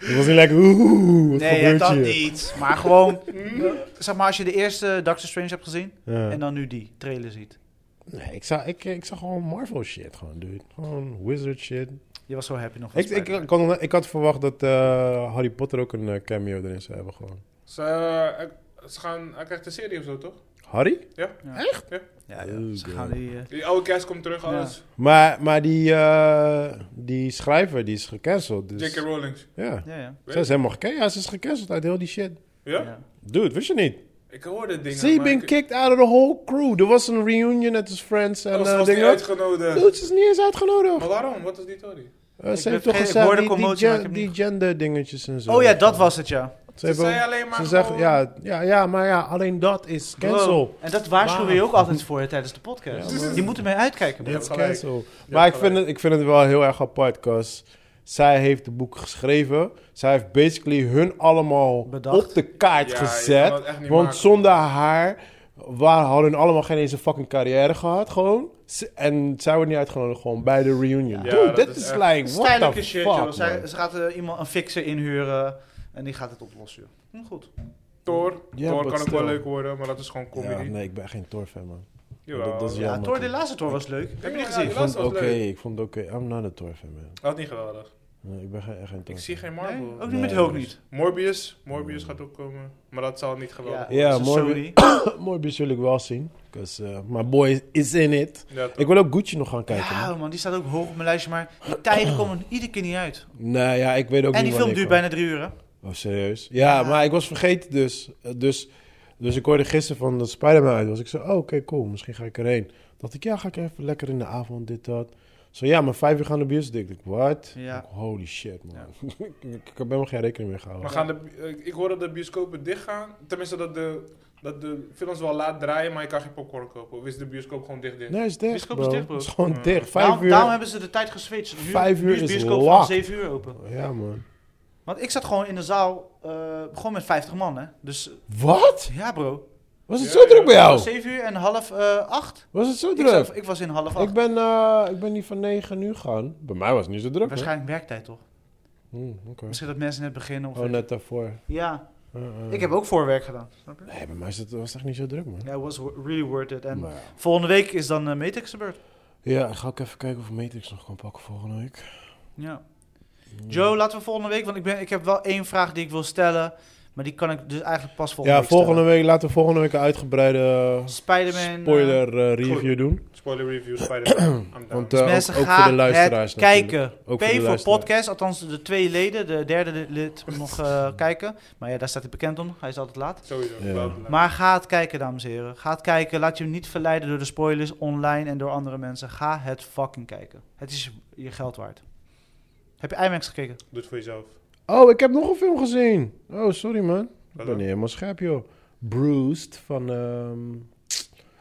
A: Het was niet lekker, oeh, wat
B: Nee,
A: gebeurt
B: dat
A: hier?
B: niet. Maar gewoon, zeg maar, als je de eerste Doctor Strange hebt gezien
A: Ja.
B: en dan nu die trailer ziet.
A: Nee, ik zag, ik, ik zag gewoon Marvel shit, gewoon, dude. Gewoon wizard shit.
B: Je was zo happy nog. van
A: Ik, ik,
B: Spider-Man.
A: ik, had, ik had verwacht dat eh, Harry Potter ook een eh, cameo erin zou hebben, gewoon.
C: Ze, eh, ze gaan, hij krijgt een serie of zo, toch?
A: Harry? Oh,
B: Ja, ja. Ze gaan die... eh,
C: Die oude cast komt terug,
B: Ja.
C: alles.
A: Maar, maar die, eh, die schrijver, die is gecanceld, dus...
C: J.K. Rowling.
A: Ja.
B: ja, ja.
A: Ze is helemaal gecanceld. Ja, ze is gecanceld uit heel die shit.
C: Ja?
B: Ja.
A: Dude, wist je niet?
C: Ik hoorde dingen.
A: Ze
C: maar
A: been
C: ik-
A: kicked out of the whole crew. Er was een reunion at his friends en
C: Anders
A: eh,
C: was die
A: dingen.
C: uitgenodigd.
A: Dude, ze is niet eens uitgenodigd.
C: Maar waarom? Wat is die theorie?
A: Eh, ze
B: ben
A: heeft toch
B: vergeten, ik
A: gezegd,
B: hoorde
A: die, die,
B: commotie, maar
A: gen-
B: ik heb
A: die
B: niet-
A: gender dingetjes en zo.
B: Oh ja, dat was het, ja.
A: Ze,
C: Ze
A: heeft wel-
C: zei alleen maar
A: ze zegt,
C: gewoon-
A: ja, ja, ja, maar ja, alleen dat is cancel.
B: Wow. En dat waarschuwen we je ook altijd voor je tijdens de podcast.
A: Ja, man.
B: je moet ermee uitkijken.
A: Dat
C: Je
B: bro.
A: is
C: hebt gelijk.
A: cancel.
C: Je
A: Maar ik
C: hebt
A: vind,
C: gelijk.
A: het, ik vind het wel heel erg apart, cause zij heeft de boek geschreven. Zij heeft basically hun allemaal
B: Bedacht.
A: op de kaart
C: Ja, je kan
A: gezet.
C: dat echt niet
A: Want
C: maken.
A: zonder haar waar, hadden hun allemaal geen eens een fucking carrière gehad, gewoon. Z- En zij wordt niet uitgenodigd, gewoon bij de reunion.
C: Ja,
A: Dude,
C: dat
A: dat
C: is
A: is
C: echt-
A: like, what
B: Tijdelijke
A: the
B: shit,
A: fuck,
B: joh.
A: man.
B: Zij, ze gaat eh, iemand, een fixer inhuren en die gaat het oplossen, joh. Hm, goed.
C: Thor.
A: Ja,
C: Thor
A: but
C: kan ook
A: still.
C: wel leuk worden, maar dat is gewoon comedy.
A: Ja, nee, ik ben geen Thor-fan, man.
C: Jawel.
A: dat- dat is
C: Ik
A: Ja,
B: Ja,
A: man.
B: Thor, de laatste Thor was leuk. Heb je die
C: Ja,
B: gezien?
A: Ik
C: laatste
A: vond
C: was
A: het oké,
C: leuk.
A: ik vond het oké. I'm not a Thor-fan, man.
C: Dat niet geweldig.
A: Nee, ik ben geen, echt geen Thor
C: Ik zie geen
B: Nee,
C: Marvel.
B: ook niet met
A: Nee, oh.
B: Hulk
A: dat
B: niet.
C: Morbius. Morbius gaat ook komen. Maar dat zal niet geweldig
B: Ja,
C: worden.
A: Ja,
B: dat is een
A: mooi.
B: Sony.
A: Morbius wil ik wel zien, cause eh, my boy is in it.
C: Ja, toch.
A: Ik wil ook Gucci nog gaan kijken, man.
B: Ja, man, die staat ook hoog op mijn lijstje, maar die tijden komen iedere keer niet uit.
A: Nou ja, ik weet ook
B: en
A: niet
B: die film
A: wanneer
B: duurt
A: kwam.
B: bijna drie uur, hè?
A: Oh, serieus? Ja, maar ik was vergeten dus. Eh, Dus, dus ik hoorde gisteren van dat Spider-Man uit was. Ik zei, oh, oké, cool, misschien ga ik erheen. Dacht ik, ja, ga ik even lekker in de avond, dit, dat. Zo, ja, maar vijf uur gaan de bios dicht. Ik, wat?
B: Ja.
A: Ik, Holy shit, man. ik, ik heb helemaal geen rekening mee gehouden.
C: Maar gaan de, eh, ik- ik hoorde dat de bioscopen dichtgaan. Tenminste, dat de, dat de films wel laat draaien, maar je kan geen popcorn kopen. Of is de bioscoop gewoon dicht dicht?
A: Nee, het is dicht,
B: Bioscoop
A: bro.
B: is dicht, bro.
A: Het is gewoon
C: Ja.
A: dicht. Vijf
B: Daarom,
A: uur.
B: daarom hebben ze de tijd geswitcht. Nu,
A: Vijf
B: nu
A: uur is
B: bioscoop van
A: laat.
B: zeven uur open.
A: Ja, man.
B: Want ik zat gewoon in de zaal, eh, gewoon met 50 man, hè? Dus eh,
A: Wat?
B: ja, bro.
A: Was het
C: Ja,
A: zo druk bij
B: Het was
A: jou?
B: Zeven uur en half eh, acht.
A: Was het zo
B: Ik, Ah. zat-
A: druk?
B: ik was in half acht.
A: Ik ben, eh, ik ben niet van negen uur gaan. Bij mij was het niet zo druk, hoor.
B: Waarschijnlijk werktijd, toch?
A: Hmm, oké.
B: Misschien dat mensen net beginnen. Of
A: Oh, net daarvoor.
B: Ja,
A: Eh, eh.
B: ik heb ook voorwerk gedaan. Snap je?
A: Nee, bij mij is het, was het echt niet zo druk, man.
B: Ja, it was wo- really worth it. En
A: Maar ja.
B: volgende week is dan eh, Matrix de beurt.
A: ja, ik ga ook even kijken of ik Matrix nog kan pakken volgende week.
B: Ja. Joe, laten we volgende week, want ik, ben, ik heb wel één vraag die ik wil stellen. Maar die kan ik dus eigenlijk pas volgende
A: ja,
B: week
A: volgende
B: stellen.
A: week, laten we volgende week een uitgebreide
B: Spider-Man. eh,
A: spoiler eh, review
C: goed.
A: doen.
C: Spoiler review, Spider-Man. I'm down.
A: Want eh,
B: mensen
A: ook, ook
B: gaan
A: voor de luisteraars
B: het
A: natuurlijk.
B: kijken.
A: voor
B: P
A: de
B: voor,
A: luisteraars.
B: podcast, althans de twee leden. De derde li- lid moet nog eh, kijken. Maar ja, daar staat hij bekend om. Hij is altijd laat.
C: Sowieso.
A: Ja.
C: wel belangrijk.
B: Maar ga het kijken, dames en heren. Ga het kijken. Laat je niet verleiden door de spoilers online en door andere mensen. Ga het fucking kijken. Het is je geld waard. Heb je IMAX gekeken?
C: Doe het voor jezelf.
A: Oh, ik heb nog een film gezien. Oh, sorry man. Ik
C: Hallo?
A: ben niet helemaal scherp, joh. Bruised van ehm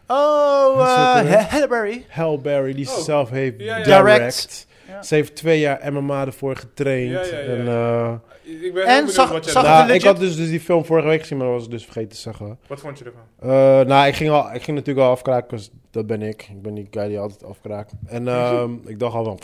B: Oh,
A: Wat is dat ook
B: eh
A: weer?
B: Halle Berry.
A: Halle Berry, die ze
C: Oh.
A: zelf heeft
C: Ja, ja.
A: direct.
B: Direct. Ja.
A: Ze heeft twee jaar MMA ervoor getraind.
C: Ja, ja, ja,
A: En, eh,
C: Ik ben
B: En
C: heel benieuwd
B: zag-
C: wat, jij
B: zag-
C: ervan-
B: het
A: nou, ik
B: legit?
A: had dus, dus die film vorige week gezien, maar dat was ik dus vergeten te zeggen.
C: wat vond je ervan?
A: Eh, nou, ik ging, al, ik ging natuurlijk al afkraken, 'cause Dat ben ik. Ik ben die guy die altijd afkraakt. En ehm, ik dacht al van...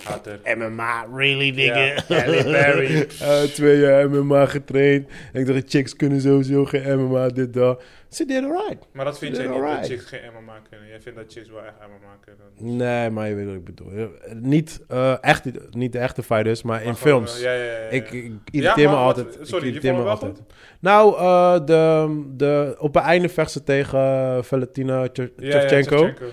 A: MMA, really, nigga? Eh, twee jaar MMA getraind. En ik dacht, chicks kunnen sowieso geen MMA, dit, dat. Ze deden alright.
E: Maar dat vind
A: Is
E: jij
A: it
E: niet, dat
A: alright?
E: chicks geen MMA kunnen. Jij vindt dat chicks wel echt MMA kunnen.
A: Nee, maar je weet wat ik bedoel. Eh, Niet, eh, echt, niet- niet de echte fighters, maar in
E: Maar gewoon,
A: films.
E: eh, Ja, ja, ja. ja.
A: Ik, ik
E: Ja,
A: irriteer
E: maar
A: me
E: wat-
A: altijd. Ik
E: sorry, je
A: irriteer
E: vond
A: me
E: hem wel
A: altijd. Nou, eh, de, de, op het einde vecht ze tegen eh, Valentina Tje-
E: Ja, ja,
A: Shevchenko.
E: Shevchenko.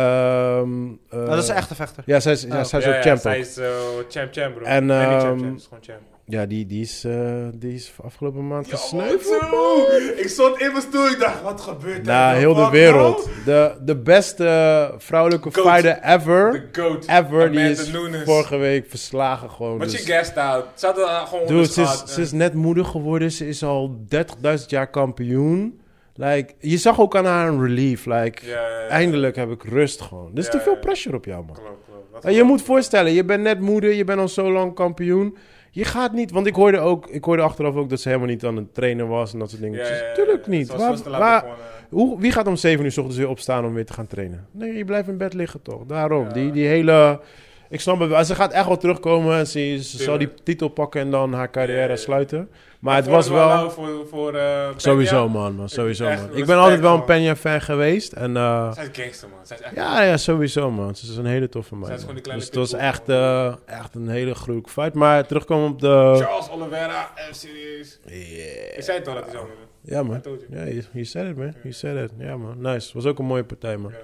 A: Ehm, eh,
B: Nou, dat is een echte vechter.
A: Ja, zij is, ja,
B: Oh.
A: zij is
E: Ja,
A: ook
E: ja,
A: champ
E: Zij
A: ook.
E: is eh, champ, champ, bro.
A: En,
E: nee, niet
A: ehm,
E: champ, champ. is gewoon champ.
A: Ja, die, die, is, eh, die is afgelopen maand
E: Ja,
A: gesneuveld.
E: wat zo? Ik stond in mijn stoel, ik dacht, wat gebeurt daar?
A: Na heel de
E: Wat
A: wereld.
E: nou?
A: De, de beste vrouwelijke
E: Goat.
A: fighter ever.
E: The GOAT.
A: Ever. Die
E: Amanda
A: is
E: Nunes.
A: vorige week verslagen gewoon.
E: But
A: dus-
E: she gassed out. Ze had haar gewoon
A: Dude, ze
E: onderschat.
A: is, ze is net moeder geworden. Ze is al 30.000 jaar kampioen. Like, je zag ook aan haar een relief. Like,
E: Ja, ja, ja.
A: eindelijk heb ik rust gewoon. Dus Er is
E: Ja,
A: te veel
E: ja, ja.
A: pressure op jou, man.
E: Klopt, klopt. Dat
A: En je moet voorstellen, je bent net moeder. Je bent al zo lang kampioen. Je gaat niet, want ik hoorde, ook, ik hoorde achteraf ook dat ze helemaal niet aan het trainen was en dat soort dingen. Dus
E: Ja, ja, ja, ja.
A: Tuurlijk niet.
E: Ze was
A: Waar-
E: vast te laat
A: waar-
E: gewoon, eh,
A: hoe, wie gaat om 7 uur 's ochtends weer opstaan om weer te gaan trainen? Nee, je blijft in bed liggen toch? Daarom.
E: Ja.
A: Die, die hele. Ik snap het wel. Ze gaat echt wel terugkomen. en Ze, ze zal die titel pakken en dan haar carrière
E: Ja, ja, ja.
A: sluiten. Maar
E: ik
A: het
E: vond
A: was wel.
E: lauw voor, voor eh, Peña.
A: Sowieso, man. man. Sowieso,
E: echt
A: man. Ik ben
E: respect,
A: altijd wel een
E: man.
A: Peña-fan geweest. En, eh,
E: Zij is gangster, man. Zij is echt...
A: ja, ja, sowieso, man. Ze is een hele toffe man.
E: Zij is gewoon
A: man.
E: die kleine
A: Dus het was
E: pitbull,
A: echt,
E: man.
A: eh, echt een hele gruwelijke fight. Maar terugkomen op de.
E: Charles Oliveira, eh, serieus. Ik zei het al dat hij zo wilde.
A: Ja,
E: I
A: man.
E: told you.
A: Ja, je je said it, man. Je said it. Ja, man. Nice. Was ook een mooie partij, man.
E: Ja.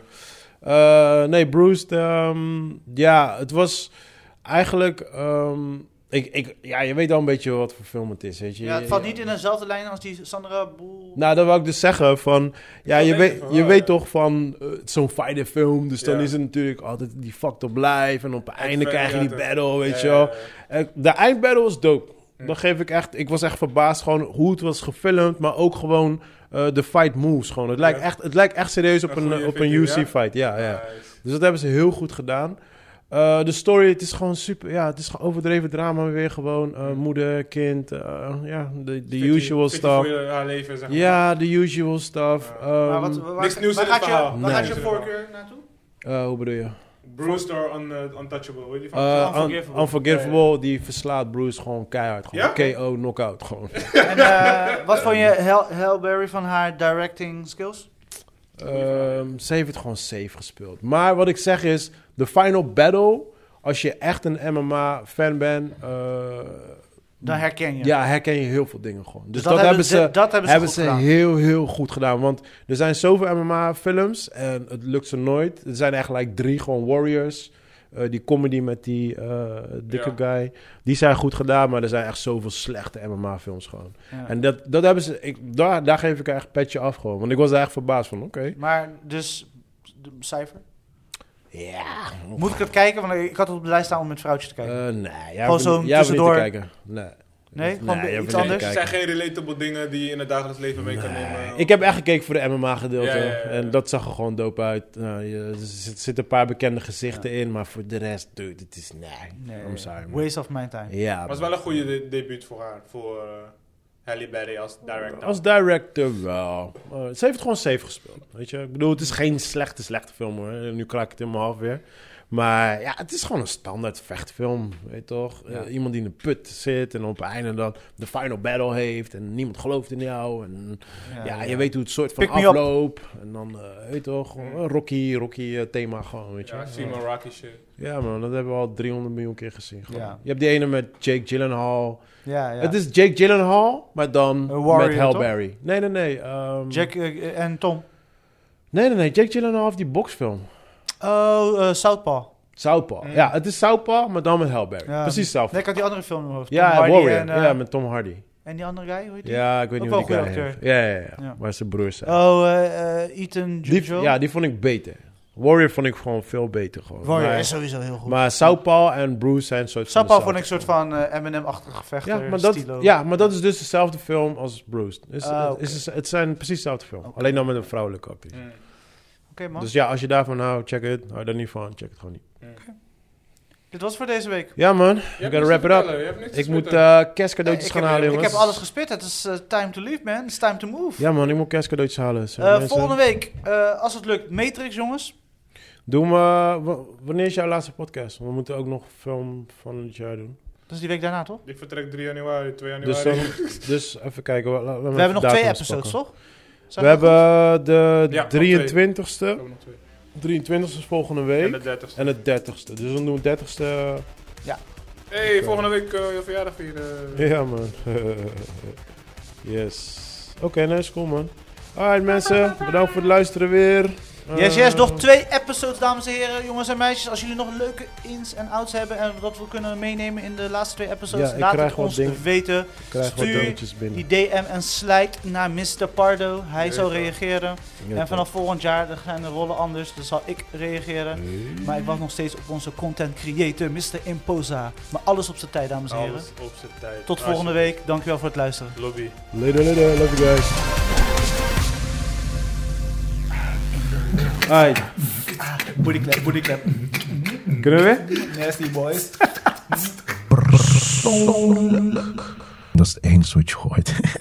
A: Eh, nee, Bruce, ehm, ja, het was eigenlijk... ehm, ik, ik, ja, je weet al een beetje wat voor film het is, weet je.
B: Ja, het valt niet in dezelfde lijn als die Sandra Boel.
A: Nou, dat wil ik dus zeggen van... Ja,
E: Ik
A: je
E: wil
A: weet,
E: weten van
A: je
E: waar,
A: weet
E: ja.
A: toch van eh, het is zo'n fighterfilm. Dus dan
E: Ja.
A: is het natuurlijk altijd die fucked up life. En op het einde
E: ver-
A: krijg je
E: ja,
A: die
E: toch.
A: battle, weet
E: Ja,
A: je wel.
E: ja, ja.
A: En De eindbattle was dope. Dan geef ik echt... Ik was echt verbaasd gewoon hoe het was gefilmd. Maar ook gewoon eh, de fight moves gewoon. Het lijkt
E: Ja.
A: echt, het lijkt echt serieus op
E: Een
A: een,
E: goede
A: op een
E: video, ja?
A: UC-fight. Ja, ja.
E: Nice.
A: Dus dat hebben ze heel goed gedaan. Eh, de story, het is gewoon super. Ja, het is gewoon overdreven drama weer. Gewoon eh, moeder, kind. eh, ja, de, de
E: Fit die-
A: usual
E: fit die voor
A: stuff.
E: je- haar leven, zeg maar.
A: Ja, de usual stuff.
E: Ja.
A: Ehm,
B: Maar wat, waar,
E: Nou, niks
B: waar
E: nieuws in
B: gaat
E: het
B: je,
E: verhaal.
B: waar
A: Nee.
B: gaat je voorkeur naartoe?
A: eh, hoe bedoel je?
E: Brewster on, eh, Untouchable, weet je van?
A: Eh, un-
B: Unforgivable.
A: unforgivable, die verslaat Bruce gewoon keihard. Gewoon. KO, knockout gewoon.
B: En eh, wat vond je Hel Halle Berry van haar directing skills?
A: Ehm, ze heeft het gewoon safe gespeeld. Maar wat ik zeg is, de final battle, als je echt een MMA-fan bent, eh,
B: Dan herken je.
A: ja, herken je heel veel dingen gewoon. Dus,
B: Dus
A: dat, hebben ze,
B: dat hebben ze,
A: hebben
B: goed
A: ze
B: gedaan.
A: heel, heel goed gedaan. Want er zijn zoveel MMA-films en het lukt ze nooit. Er zijn eigenlijk drie gewoon Warriors. Eh, die comedy met die eh, dikke guy. Die zijn goed gedaan, maar er zijn echt zoveel slechte MMA-films gewoon.
B: Ja.
A: En dat, dat hebben ze... Ik, daar, daar geef ik echt petje af gewoon. Want ik was daar echt verbaasd van. Oké.
B: Maar dus, de cijfer?
A: Ja.
B: Moet ik het kijken? Want ik had het op de lijst staan om met vrouwtje te kijken.
A: Eh, nee, jij
B: Gewoon
A: hoeft,
B: zo'n
A: niet, jij hoeft niet te
B: tussendoor.
A: kijken. Nee.
B: Nee? Gewoon
A: jij hoeft
B: iets
A: niet te
B: anders?
E: Er
A: kijken.
E: zijn geen relatable dingen die je in het dagelijks leven mee kan nemen.
A: Eh, Ik heb echt gekeken voor de MMA-gedeelte.
E: Ja, ja, ja, ja.
A: En dat zag er gewoon dope uit. Nou, je- er zitten zit een paar bekende gezichten in, maar voor de rest, dude, het is nee.
B: Nee,
A: I'm sorry, oh, man.
B: waste of my time.
A: Ja,
E: Maar het is wel een goede de- debuut voor haar, voor eh, Halle Berry als director.
A: Als director wel. Maar ze heeft het gewoon safe gespeeld. Weet je? Ik bedoel, het is geen slechte, slechte film hoor. Nu kraak ik het in mijn half weer. Maar ja, het is gewoon een standaard vechtfilm. Weet je toch? Eh, iemand die in de put zit en op het einde dan de final battle heeft. En niemand gelooft in jou. En ja, je weet hoe het soort van
B: Pick me up.
A: afloopt. En dan, eh weet je toch, gewoon een Rocky, Rocky eh, thema gewoon. Weet je?
E: ja, Seymour Rocky shit.
A: Ja, man, dat hebben we al 300 miljoen keer gezien. gewoon.
B: Ja.
A: Je hebt die ene met Jake Gyllenhaal.
B: Ja, ja.
A: Het is Jake Gyllenhaal, maar dan
B: Een warrior,
A: met Halle
B: toch?
A: Berry. Nee, nee, nee. ehm,
B: Jack eh, en Tom.
A: Nee, nee, nee. Jake Gyllenhaal heeft die boxfilm.
B: Oh, eh, Southpaw.
A: Southpaw. Ja, het is Southpaw, maar dan met Halle Berry.
B: Mm. Ja.
A: Precies hetzelfde.
B: Nee, ik had die andere film in mijn hoofd.
A: ja,
B: Tom Hardy
A: Warrior.
B: En, eh,
A: ja, met Tom Hardy.
B: en die andere guy, hoe heet die?
A: Ja, ik weet
B: Ook
A: niet
B: wel
A: hoe die
B: een
A: guy
B: goede
A: heet.
B: acteur.
A: Ja, ja, ja,
B: Ja.
A: Maar zijn broers zijn.
B: Oh, eh, eh, Ethan
A: die,
B: Jujo.
A: ja, die vond ik beter. Warrior vond ik gewoon veel beter. Gewoon.
B: Warrior
A: maar,
B: is sowieso heel goed.
A: maar Southpaw en Bruce zijn een soort van
B: Southpaw vond ik
A: dezelfde
B: een soort
A: film.
B: van eh, Eminem-achtige vechter,
A: Ja maar, dat,
B: stilo.
A: ja, maar dat is dus dezelfde film als Bruce. Dus
B: Ah,
A: het-
B: oké.
A: is, het zijn precies dezelfde film.
B: Oké.
A: Alleen dan met een vrouwelijke actrice.
E: Mm.
B: Oké, man.
A: Dus ja, als je daarvan houdt, check het. Hou daar niet van, check het gewoon niet.
B: Dit was voor deze week.
A: Ja
E: Je
A: man, we
E: hebt
A: gotta
E: niks
A: wrap
E: te
A: it up.
E: vertellen, je hebt niks te
A: Ik moet
E: vertellen.
A: eh kerstcadeautjes
B: ik,
A: gaan
B: heb, eh,
A: halen,
B: ik
A: jongens.
B: heb alles gespit. Het is eh, time to leave, man. It's time to move.
A: Ja man, ik moet kerstcadeautjes halen. Zo,
B: Eh,
A: mensen.
B: volgende week, eh, als het lukt, Matrix, jongens.
A: Doe me, w- wanneer is jouw laatste podcast? We moeten ook nog film van het jaar doen.
B: Dat is die week daarna,
A: eh,
B: toch?
E: Ik vertrek 3 januari, 2
A: Dus,
E: januari.
A: dan, dus even kijken. wa- la- laat me
B: We hebben
A: even
B: nog twee
A: datums
B: episodes,
A: pakken.
B: toch? Zijn
A: We hebben de
E: Ja, nog twee.
A: 23ste.
E: Ook nog twee.
A: 23ste is volgende
E: En
A: week.
E: de 30ste.
A: En de 30ste. Dus dan doen we 30ste.
E: hey, volgende week eh, je verjaardag vieren.
A: eh, Ja, man. yes. Oké, nice, is cool, man. Alright, mensen. Bedankt voor het luisteren weer.
B: Yes,
A: Eh,
B: yes, nog twee episodes, dames en heren, jongens en meisjes. Als jullie nog leuke ins en outs hebben en wat we kunnen meenemen in de laatste twee episodes,
A: Ja, ik
B: laat
A: krijg
B: het
A: wat
B: ons
A: dingen.
B: weten.
A: Ik krijg wat
B: stuur
A: dingetjes binnen.
B: Die DM en slijt naar Mr. Pardo. Hij zal reageren.
A: Ja,
B: en vanaf volgend jaar dan gaan de rollen anders, dus zal ik reageren. Maar ik wacht nog steeds op onze content creator, Mr. Imposa. Maar alles op zijn tijd, dames en heren.
E: Alles op zijn tijd.
B: Tot volgende week. Dankjewel voor het luisteren.
E: Lobby.
A: Later, later. Love you guys. Alright.
B: Bootyclap, bootyclap.
A: Kunnen we weer?
B: Nasty boys.
F: persoonlijk. Dat is het enige wat je hoort.